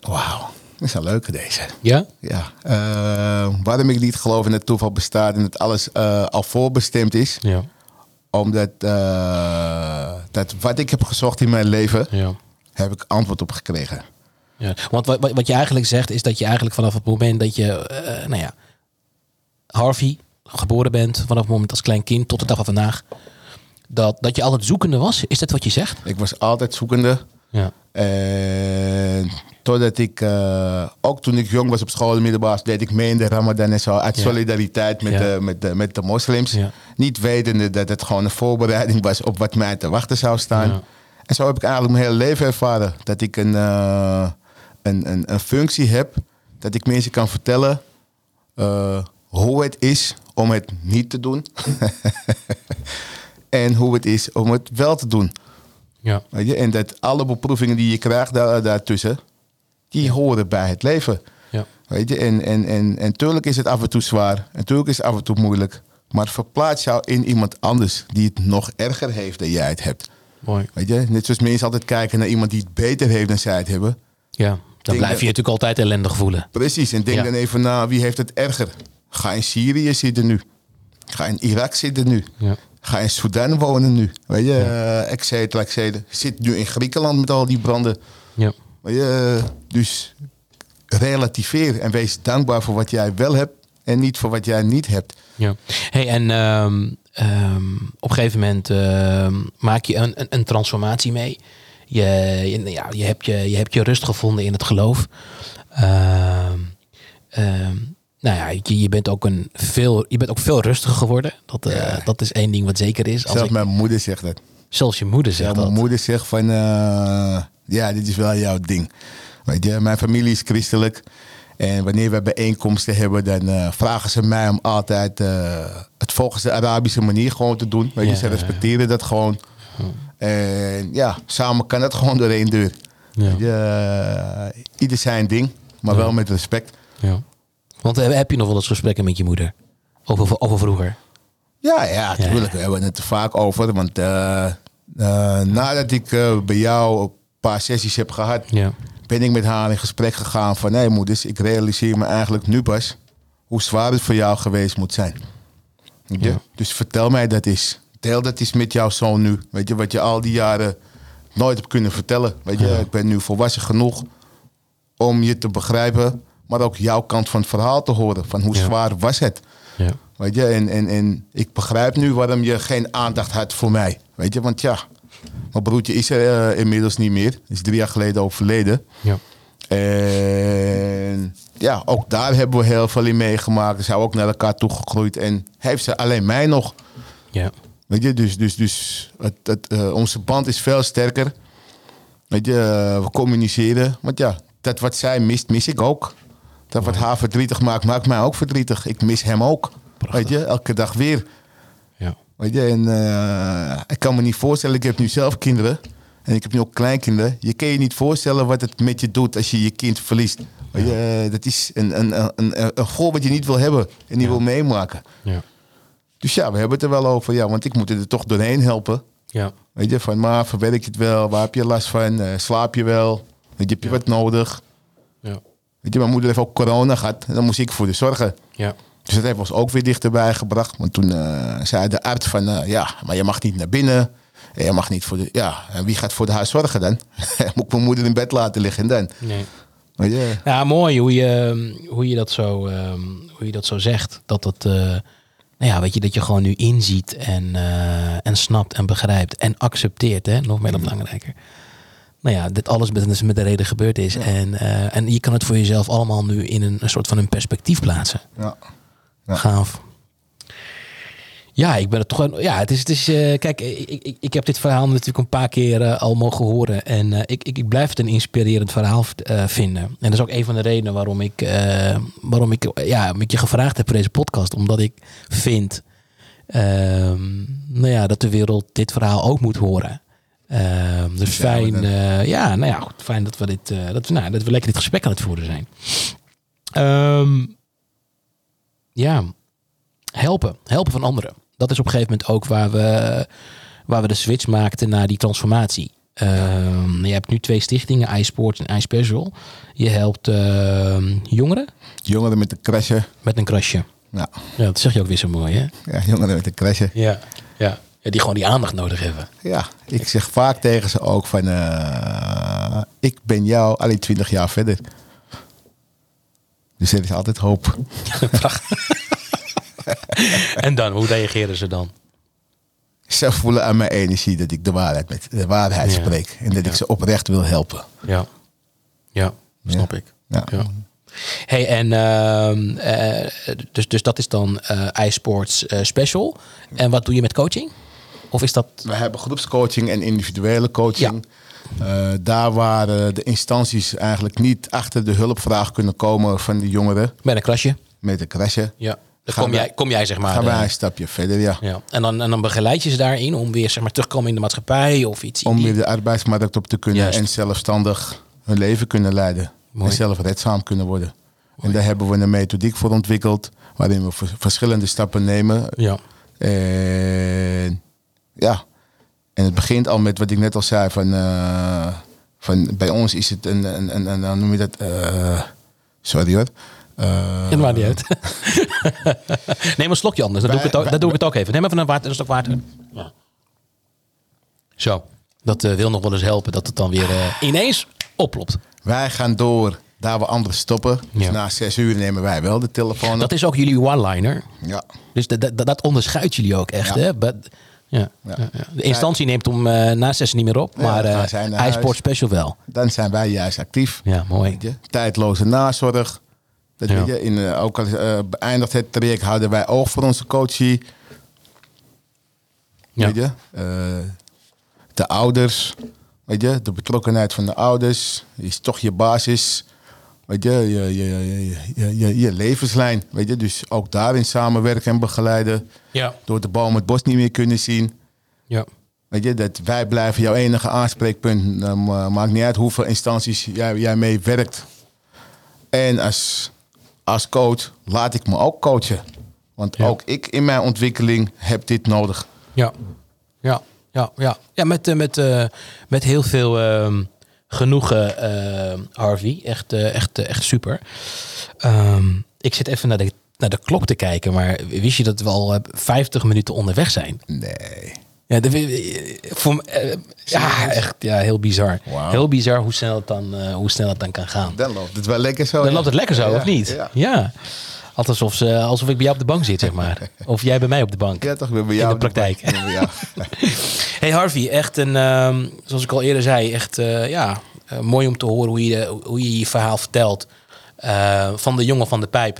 C: Wauw, dat is een leuke deze.
A: Ja?
C: Ja. eh, waarom ik niet geloof in het toeval bestaat en dat alles eh, al voorbestemd is.
A: Ja.
C: Omdat eh, dat wat ik heb gezocht in mijn leven,
A: Ja.
C: heb ik antwoord op gekregen.
A: ja. Want wat, wat wat je eigenlijk zegt is dat je eigenlijk vanaf het moment dat je, eh, nou ja, Harvey geboren bent, vanaf het moment als klein kind tot de dag van vandaag, dat, dat je altijd zoekende was. Is dat wat je zegt?
C: Ik was altijd zoekende.
A: Ja.
C: En totdat ik, eh, ook toen ik jong was op school, in de middelbaar, deed ik mee in de Ramadan en zo. Uit
A: Ja.
C: solidariteit met,
A: Ja.
C: de, met, de, met de moslims.
A: Ja.
C: Niet wetende dat het gewoon een voorbereiding was op wat mij te wachten zou staan.
A: Ja.
C: En zo heb ik eigenlijk mijn hele leven ervaren. Dat ik een, eh, een, een, een functie heb, dat ik mensen kan vertellen eh, hoe het is om het niet te doen. en hoe het is om het wel te doen.
A: Ja.
C: Weet je? En dat alle beproevingen die je krijgt daar, daartussen, die horen bij het leven.
A: Ja.
C: Weet je? En, en, en, en tuurlijk is het af en toe zwaar. En tuurlijk is het af en toe moeilijk. Maar verplaats jou in iemand anders die het nog erger heeft dan jij het hebt.
A: Mooi.
C: Weet je? Net zoals mensen altijd kijken naar iemand die het beter heeft dan zij het hebben.
A: Ja. Dan blijf je
C: dat-
A: je natuurlijk altijd ellendig voelen.
C: Precies. En denk
A: Ja.
C: dan even na, wie heeft het erger? Ga in Syrië zitten nu. Ga in Irak zitten nu.
A: Ja.
C: Ga in Sudan wonen nu. Weet je, eh, et cetera, et cetera. Zit nu in Griekenland met al die branden.
A: Ja.
C: Maar je, dus relativeer en wees dankbaar voor wat jij wel hebt en niet voor wat jij niet hebt.
A: Ja. Hey, en ehm, ehm, op een gegeven moment ehm, maak je een, een, een transformatie mee. Je, je- nou ja, je, hebt je, je hebt je rust gevonden in het geloof. Ehm, ehm, nou ja, je, je bent ook een veel, je bent ook veel rustiger geworden. Dat, eh,
C: Ja.
A: dat is één ding wat zeker is. Als
C: Zelfs
A: ik,
C: mijn moeder zegt dat.
A: zelfs je moeder
C: Ja,
A: zegt
C: mijn
A: dat.
C: moeder zegt van, eh, ja, dit is wel jouw ding. Weet je, mijn familie is christelijk. En wanneer we bijeenkomsten hebben, dan eh, vragen ze mij om altijd eh, het volgens de Arabische manier gewoon te doen. Weet je,
A: Ja,
C: ze
A: ja, ja.
C: respecteren dat gewoon. En ja, samen kan het gewoon door één deur.
A: Ja.
C: Weet je, eh, ieder zijn ding, maar wel met respect.
A: Ja. Want eh, heb je nog wel eens gesprekken met je moeder? Over, over vroeger?
C: Ja, ja, natuurlijk. We hebben het er vaak over. Want eh, eh, nadat ik eh, bij jou een paar sessies heb gehad,
A: Ja.
C: ben ik met haar in gesprek gegaan van... hé hey, moeders, ik realiseer me eigenlijk nu pas hoe zwaar het voor jou geweest moet zijn. Weet je?
A: Ja.
C: Dus vertel mij dat eens. Deel dat eens met jouw zoon nu. Weet je, wat je al die jaren nooit hebt kunnen vertellen. Weet je, ik ben nu volwassen genoeg om je te begrijpen... maar ook jouw kant van het verhaal te horen. Van hoe
A: Ja.
C: zwaar was het?
A: Ja.
C: Weet je, en, en, en ik begrijp nu waarom je geen aandacht had voor mij. Weet je, want ja, mijn broertje is er eh, inmiddels niet meer. Is drie jaar geleden overleden.
A: Ja.
C: En ja, ook daar hebben we heel veel in meegemaakt. Ze zijn ook naar elkaar toegegroeid. En heeft ze alleen mij nog.
A: Ja.
C: Weet je, dus, dus, dus het, het, eh, onze band is veel sterker. Weet je, eh, we communiceren. Want ja, dat wat zij mist, mis ik ook. Dat wat haar verdrietig maakt, maakt mij ook verdrietig. Ik mis hem ook. Weet je, elke dag weer.
A: Ja.
C: Weet je, en eh, ik kan me niet voorstellen, ik heb nu zelf kinderen. En ik heb nu ook kleinkinderen. Je kan je niet voorstellen wat het met je doet als je je kind verliest. Weet je, eh, dat is een, een, een, een, een gevoel wat je niet wil hebben en niet wil meemaken.
A: Ja.
C: Dus ja, we hebben het er wel over. Ja, want ik moet er toch doorheen helpen.
A: Ja.
C: Weet je, van maar verwerk je het wel? Waar heb je last van? Eh, slaap je wel? Weet je, heb je wat nodig?
A: Ja.
C: Weet je, mijn moeder heeft ook corona gehad. En daar moest ik voor de zorgen.
A: Ja.
C: Dus dat heeft ons ook weer dichterbij gebracht. Want toen eh, zei de arts van, eh, ja, maar je mag niet naar binnen. En je mag niet voor de... Ja, en wie gaat voor de haar zorgen dan? Moet ik mijn moeder in bed laten liggen dan?
A: Nee. Oh
C: Weet je?
A: Ja, mooi hoe je, hoe je, dat, zo, ehm, hoe je dat zo zegt. Dat het, eh, nou ja, weet je, dat je gewoon nu inziet en, eh, en snapt en begrijpt en accepteert. Hè? Nog meer dan belangrijker. Nou ja, dit alles met, met de reden gebeurd is. En, eh, en je kan het voor jezelf allemaal nu in een, een soort van een perspectief plaatsen.
C: Ja.
A: Gaaf. Ja, ik ben het toch. wel- Ja, het is. Het is eh, kijk, ik, ik, ik heb dit verhaal natuurlijk een paar keer eh, al mogen horen. En eh, ik, ik, ik blijf het een inspirerend verhaal eh, vinden. En dat is ook een van de redenen waarom ik, eh, waarom ik, eh, ja, ik je gevraagd heb voor deze podcast. Omdat ik vind ehm, nou ja, dat de wereld dit verhaal ook moet horen. Ehm, dus
C: Ja,
A: fijn,
C: maar dan-
A: eh, ja, nou ja, goed, fijn dat we, dit, eh, dat, we, nou, dat we lekker dit gesprek aan het voeren zijn. Ehm, ja, helpen. Helpen van anderen. Dat is op een gegeven moment ook waar we, waar we de switch maakten naar die transformatie. Ehm, je hebt nu twee stichtingen, iSports en iSpecial. Je helpt ehm, jongeren
C: Jongeren met de crashen.
A: met een krasje.
C: Ja.
A: Ja, dat zeg je ook weer zo mooi, hè?
C: ja, jongeren met de crashen.
A: Ja, ja. die gewoon die aandacht nodig hebben.
C: Ja, ik zeg vaak tegen ze ook van... eh, ik ben jou alleen 20 jaar verder. Dus er is altijd hoop.
A: En dan, hoe reageren ze dan?
C: Ze voelen aan mijn energie dat ik de waarheid, met, de waarheid
A: Ja.
C: spreek. En dat ik ze oprecht wil helpen.
A: Ja, ja, snap ik.
C: Ja.
A: Ja. Hey, en ehm, eh, dus, dus dat is dan eh iSports eh, Special. En wat doe je met coaching? Of is dat...
C: We hebben groepscoaching en individuele coaching. Eh, daar waar eh, de instanties eigenlijk niet achter de hulpvraag kunnen komen van de jongeren
A: Met een klasje?
C: met de crashen.
A: Ja. Dan
C: Gaan
A: kom
C: wij-
A: jij, kom jij zeg maar...
C: Gaan
A: eh,
C: wij een stapje verder, ja.
A: ja. en, dan, en dan begeleid je ze daarin om weer zeg maar, terug te komen in de maatschappij of iets. in
C: Om
A: die-
C: weer de arbeidsmarkt op te kunnen
A: Juist.
C: en zelfstandig hun leven kunnen leiden.
A: Mooi.
C: En zelfredzaam kunnen worden. En daar hebben we een methodiek voor ontwikkeld, waarin we vers- verschillende stappen nemen
A: Ja,
C: En ja, en het begint al met wat ik net al zei. Van, eh, van bij ons is het een, een, een, een- hoe noem je dat? Eh, sorry hoor. Eh,
A: dat maakt niet uit. Neem een slokje anders, dan doe ik het ook, dat doe ik het ook even. Neem even een, water, een stok water. Ja. Zo, dat eh, wil nog wel eens helpen dat het dan weer eh, ineens oplopt.
C: wij gaan door daar we anderen stoppen. Dus
A: Ja.
C: na zes uur nemen wij wel de telefoon
A: Dat
C: op.
A: is ook jullie one-liner.
C: Ja.
A: Dus dat, dat, dat onderscheidt jullie ook echt.
C: Ja.
A: Hè? But- ja.
C: Ja.
A: ja, ja. De instantie neemt om eh na zes niet meer op, maar
C: dan gaan
A: eh
C: zij naar huis.
A: iSport Special wel.
C: Dan zijn wij juist actief.
A: Ja, mooi.
C: Weet je, Tijdloze nazorg. Dat
A: Ja.
C: weet je, in, eh, ook al eh, beëindigd het traject houden wij oog voor onze coachie.
A: Ja.
C: Weet je? Eh, de ouders. Weet je? De betrokkenheid van de ouders is toch je basis. Weet je? Je, je, je, je, je, je levenslijn. Weet je? Dus ook daarin samenwerken en begeleiden.
A: Ja.
C: Door de boom het bos niet meer kunnen zien.
A: ja.
C: Weet je, dat wij blijven jouw enige aanspreekpunt. Eh, ma- maakt niet uit hoeveel instanties jij, jij mee werkt. En als, als coach laat ik me ook coachen. Want
A: Ja.
C: ook ik in mijn ontwikkeling heb dit nodig.
A: Ja, ja, ja, ja. ja met, eh, met, eh, met heel veel ehm, genoegen, ehm, Harvey. Echt, eh, echt, eh, echt super. Ehm, ik zit even naar de, naar de klok te kijken, maar wist je dat we al eh, 50 minuten onderweg zijn?
C: Nee.
A: Ja, dat vind ik- eh, voor, m- eh, ja echt ja, heel bizar.
C: Wauw.
A: Heel bizar hoe snel het dan, eh, hoe snel het dan kan gaan.
C: Dan loopt het wel lekker zo.
A: Dan
C: ja.
A: loopt het lekker zo,
C: Ja,
A: of niet?
C: ja.
A: Ja. Altijd alsof, ze, alsof ik bij jou op de bank zit, zeg maar. Of jij bij mij op de bank.
C: Ja, toch? weer bij
A: In
C: jou
A: de praktijk.
C: Ja, bij jou.
A: Hey Harvey, echt een, ehm, zoals ik al eerder zei, echt eh, ja, eh, mooi om te horen hoe je, de- hoe je je verhaal vertelt. Eh, van de jongen van de pijp.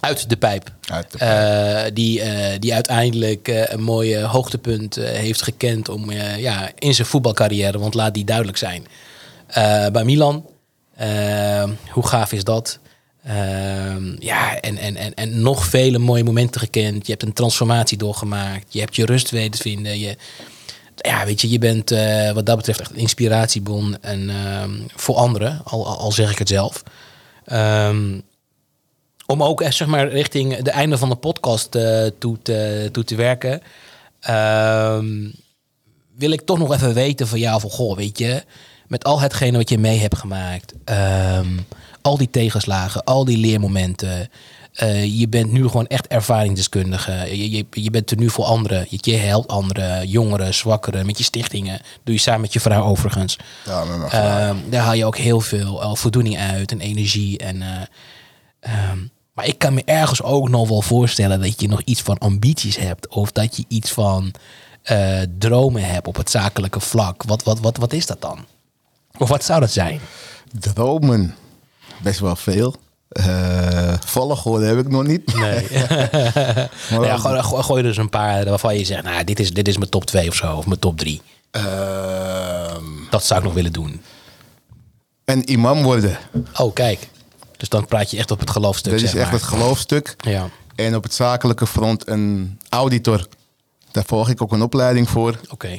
A: Uit de pijp.
C: Uit de
A: Eh, die, eh, die uiteindelijk eh, een mooi eh, hoogtepunt eh, heeft gekend om, eh, ja, in zijn voetbalcarrière. Want laat die duidelijk zijn. Eh, bij Milan. Eh, hoe gaaf is dat? Ehm, ja, en, en, en, en nog vele mooie momenten gekend. Je hebt een transformatie doorgemaakt. Je hebt je rust weten vinden. Je, ja, weet je, je bent eh, wat dat betreft echt een inspiratiebron en, ehm, voor anderen, al, al, al zeg ik het zelf. Ehm, om ook eh, zeg maar, richting de einde van de podcast eh, toe, te, toe te werken, ehm, wil ik toch nog even weten van jou van goh, weet je, met al hetgene wat je mee hebt gemaakt, ehm, al die tegenslagen, al die leermomenten. eh, je bent nu gewoon echt ervaringsdeskundige. Je, je, je bent er nu voor anderen. Je, je helpt anderen, jongeren, zwakkeren, met je stichtingen. Doe je samen met je vrouw overigens.
C: Ja, met mijn vrouw.
A: Ehm, daar haal je ook heel veel eh, voldoening uit en energie. En, eh, ehm, maar ik kan me ergens ook nog wel voorstellen dat je nog iets van ambities hebt. Of dat je iets van eh, dromen hebt op het zakelijke vlak. Wat, wat, wat, wat is dat dan? Of wat zou dat zijn?
C: Dromen. Best wel veel. Eh volgorde heb ik nog niet.
A: Nee.
C: Maar
A: ja,
C: wel-
A: gooi, gooi- gooi er dus een paar waarvan je zegt, nou, dit is, dit is mijn top 2 of zo. Of mijn top 3.
C: Ehm,
A: Dat zou ik nog willen doen.
C: en imam worden.
A: Oh, kijk. Dus dan praat je echt op het geloofstuk.
C: Dat is
A: zeg
C: echt
A: maar.
C: het geloofstuk.
A: Ja,
C: En op het zakelijke front een auditor. Daar volg ik ook een opleiding voor.
A: oké.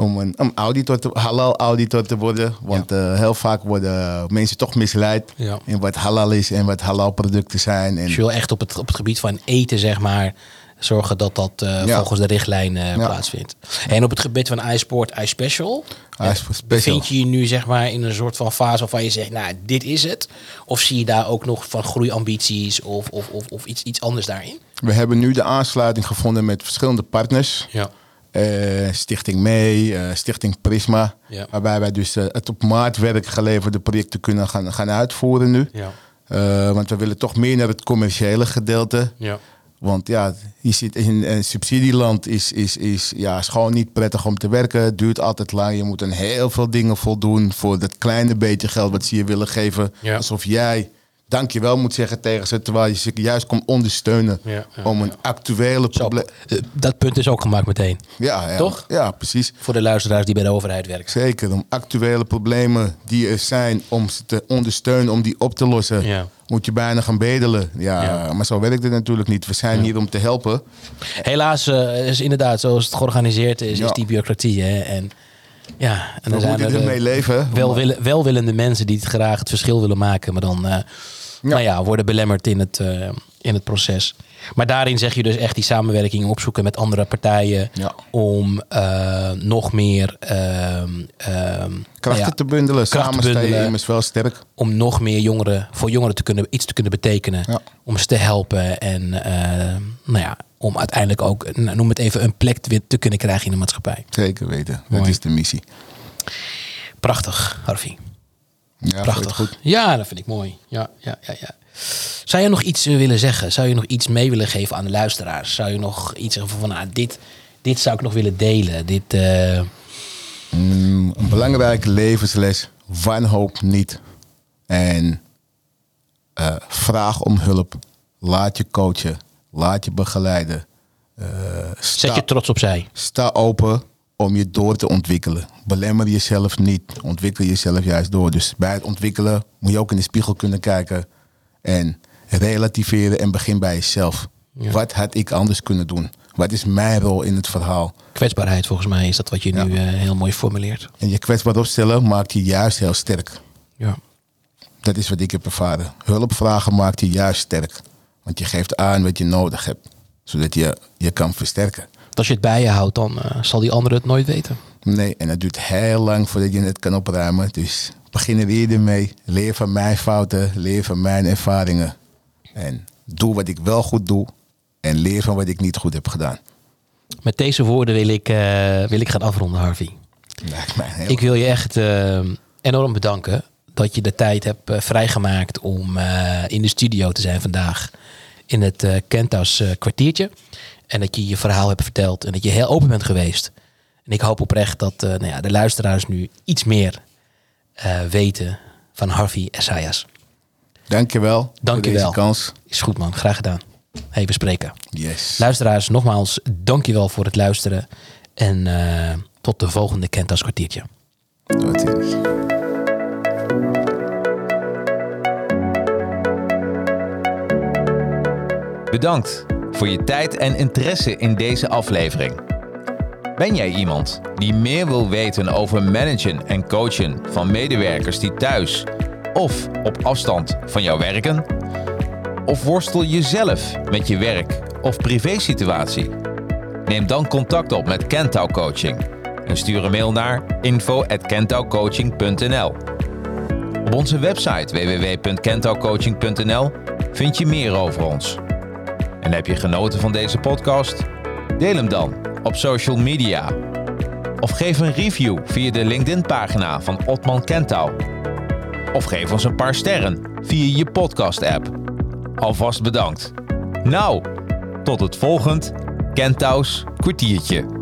C: Om een, om auditor te, halal auditor te worden. Want eh, heel vaak worden mensen toch misleid
A: Ja.
C: in wat halal is en wat halal producten zijn. En
A: Dus je wil echt op het, op het gebied van eten, zeg maar, zorgen dat dat eh,
C: Ja.
A: volgens de richtlijn eh,
C: Ja.
A: plaatsvindt. En op het gebied van iSport, iSpecial,
C: hij Ah, is special.
A: vind je je nu zeg maar in een soort van fase waarvan je zegt, nou, dit is het? Of zie je daar ook nog van groeiambities of, of, of, of iets, iets anders daarin?
C: We hebben nu de aansluiting gevonden met verschillende partners.
A: Ja.
C: Eh, Stichting MEI, eh, Stichting Prisma.
A: Ja.
C: Waarbij wij dus eh, het op maatwerk geleverde projecten kunnen gaan, gaan uitvoeren nu.
A: Ja.
C: Eh, want we willen toch meer naar het commerciële gedeelte.
A: Ja.
C: Want ja, je zit in een subsidieland is, is, is, ja, is gewoon niet prettig om te werken. Het duurt altijd lang. Je moet aan heel veel dingen voldoen voor dat kleine beetje geld wat ze je willen geven.
A: Ja.
C: Alsof jij dankjewel moet zeggen tegen ze, terwijl je ze juist komt ondersteunen
A: Ja, ja,
C: om een actuele
A: Zo,
C: probleem.
A: eh, dat punt is ook gemaakt meteen.
C: Ja, ja,
A: Toch?
C: Ja, precies.
A: Voor de luisteraars die bij de overheid werken.
C: Zeker, om actuele problemen die er zijn, om ze te ondersteunen, om die op te lossen.
A: Ja.
C: Moet je bijna gaan bedelen. Ja,
A: Ja.
C: maar zo werkt het natuurlijk niet. We zijn hier om te helpen.
A: Helaas eh, is inderdaad, zoals het georganiseerd is,
C: Ja.
A: is die bureaucratie. Hè? En, ja, en
C: We
A: dan zijn
C: moeten
A: er de-
C: ermee leven.
A: welwille- welwillende mensen die het graag het verschil willen maken, maar dan eh, Nou ja, worden belemmerd in het, eh, in het proces. Maar daarin zeg je dus echt die samenwerking opzoeken met andere partijen
C: Ja.
A: om eh, nog meer ehm, ehm, nou
C: Krachten
A: ja,
C: te bundelen,
A: krachten
C: samen sta je
A: bundelen.
C: immers wel sterk.
A: om nog meer jongeren voor jongeren te kunnen, iets te kunnen betekenen,
C: Ja.
A: om ze te helpen en eh, nou ja, om uiteindelijk ook, nou, noem het even, een plek te, te kunnen krijgen in de maatschappij.
C: Zeker weten, dat
A: Mooi.
C: is de missie.
A: Prachtig, Harvey.
C: Ja,
A: Prachtig.
C: goed.
A: Ja, dat vind ik mooi. Ja, ja, ja, ja. Zou je nog iets eh, willen zeggen? Zou je nog iets mee willen geven aan de luisteraars? Zou je nog iets zeggen van, nou, dit, dit zou ik nog willen delen? Dit, eh,
C: Mm, een belangrijke levensles, wanhoop niet. En eh, vraag om hulp. Laat je coachen, laat je begeleiden. Eh,
A: zet
C: sta,
A: je trots opzij.
C: sta open om je door te ontwikkelen. Belemmer jezelf niet, ontwikkel jezelf juist door. Dus bij het ontwikkelen moet je ook in de spiegel kunnen kijken. En relativeren en begin bij jezelf.
A: Ja.
C: Wat had ik anders kunnen doen? Wat is mijn rol in het verhaal?
A: Kwetsbaarheid, volgens mij, is dat wat je
C: Ja.
A: nu eh, heel mooi formuleert.
C: En je kwetsbaar opstellen maakt je juist heel sterk.
A: Ja.
C: Dat is wat ik heb ervaren. Hulpvragen maakt je juist sterk. Want je geeft aan wat je nodig hebt. Zodat je je kan versterken.
A: Want Als je het bij je houdt, dan eh, zal die andere het nooit weten.
C: Nee, en dat duurt heel lang voordat je het kan opruimen. Dus begin er eerder mee. Leer van mijn fouten. Leer van mijn ervaringen. En doe wat ik wel goed doe. En leer van wat ik niet goed heb gedaan.
A: Met deze woorden wil ik, eh, wil ik gaan afronden, Harvey.
C: Lijkt mij heel...
A: Ik wil je echt eh, enorm bedanken dat je de tijd hebt eh, vrijgemaakt om eh, in de studio te zijn vandaag. in het eh Kenta's eh, kwartiertje. En dat je je verhaal hebt verteld en dat je heel open bent geweest. En ik hoop oprecht dat eh, nou ja, de luisteraars nu iets meer eh, weten van Harvey Essayas.
C: Dankjewel.
A: Dank je
C: voor
A: wel.
C: deze kans.
A: Is goed man, graag gedaan. Hey, we spreken.
C: Yes.
A: Luisteraars, nogmaals, dankjewel voor het luisteren. En eh, tot de volgende Kenta's kwartiertje.
C: Tot ziens.
B: Bedankt voor je tijd en interesse in deze aflevering. Ben jij iemand die meer wil weten over managen en coachen van medewerkers die thuis of op afstand van jou werken? Of worstel je zelf met je werk of privésituatie? Neem dan contact op met Kentau Coaching en stuur een mail naar info@kentaucoaching.nl. Op onze website www.kentaucoaching.nl vind je meer over ons. En heb je genoten van deze podcast? Deel hem dan op social media. Of geef een review via de LinkedIn-pagina van Otman Kentau. Of geef ons een paar sterren via je podcast-app. Alvast bedankt. Nou, tot het volgend Kentau's kwartiertje.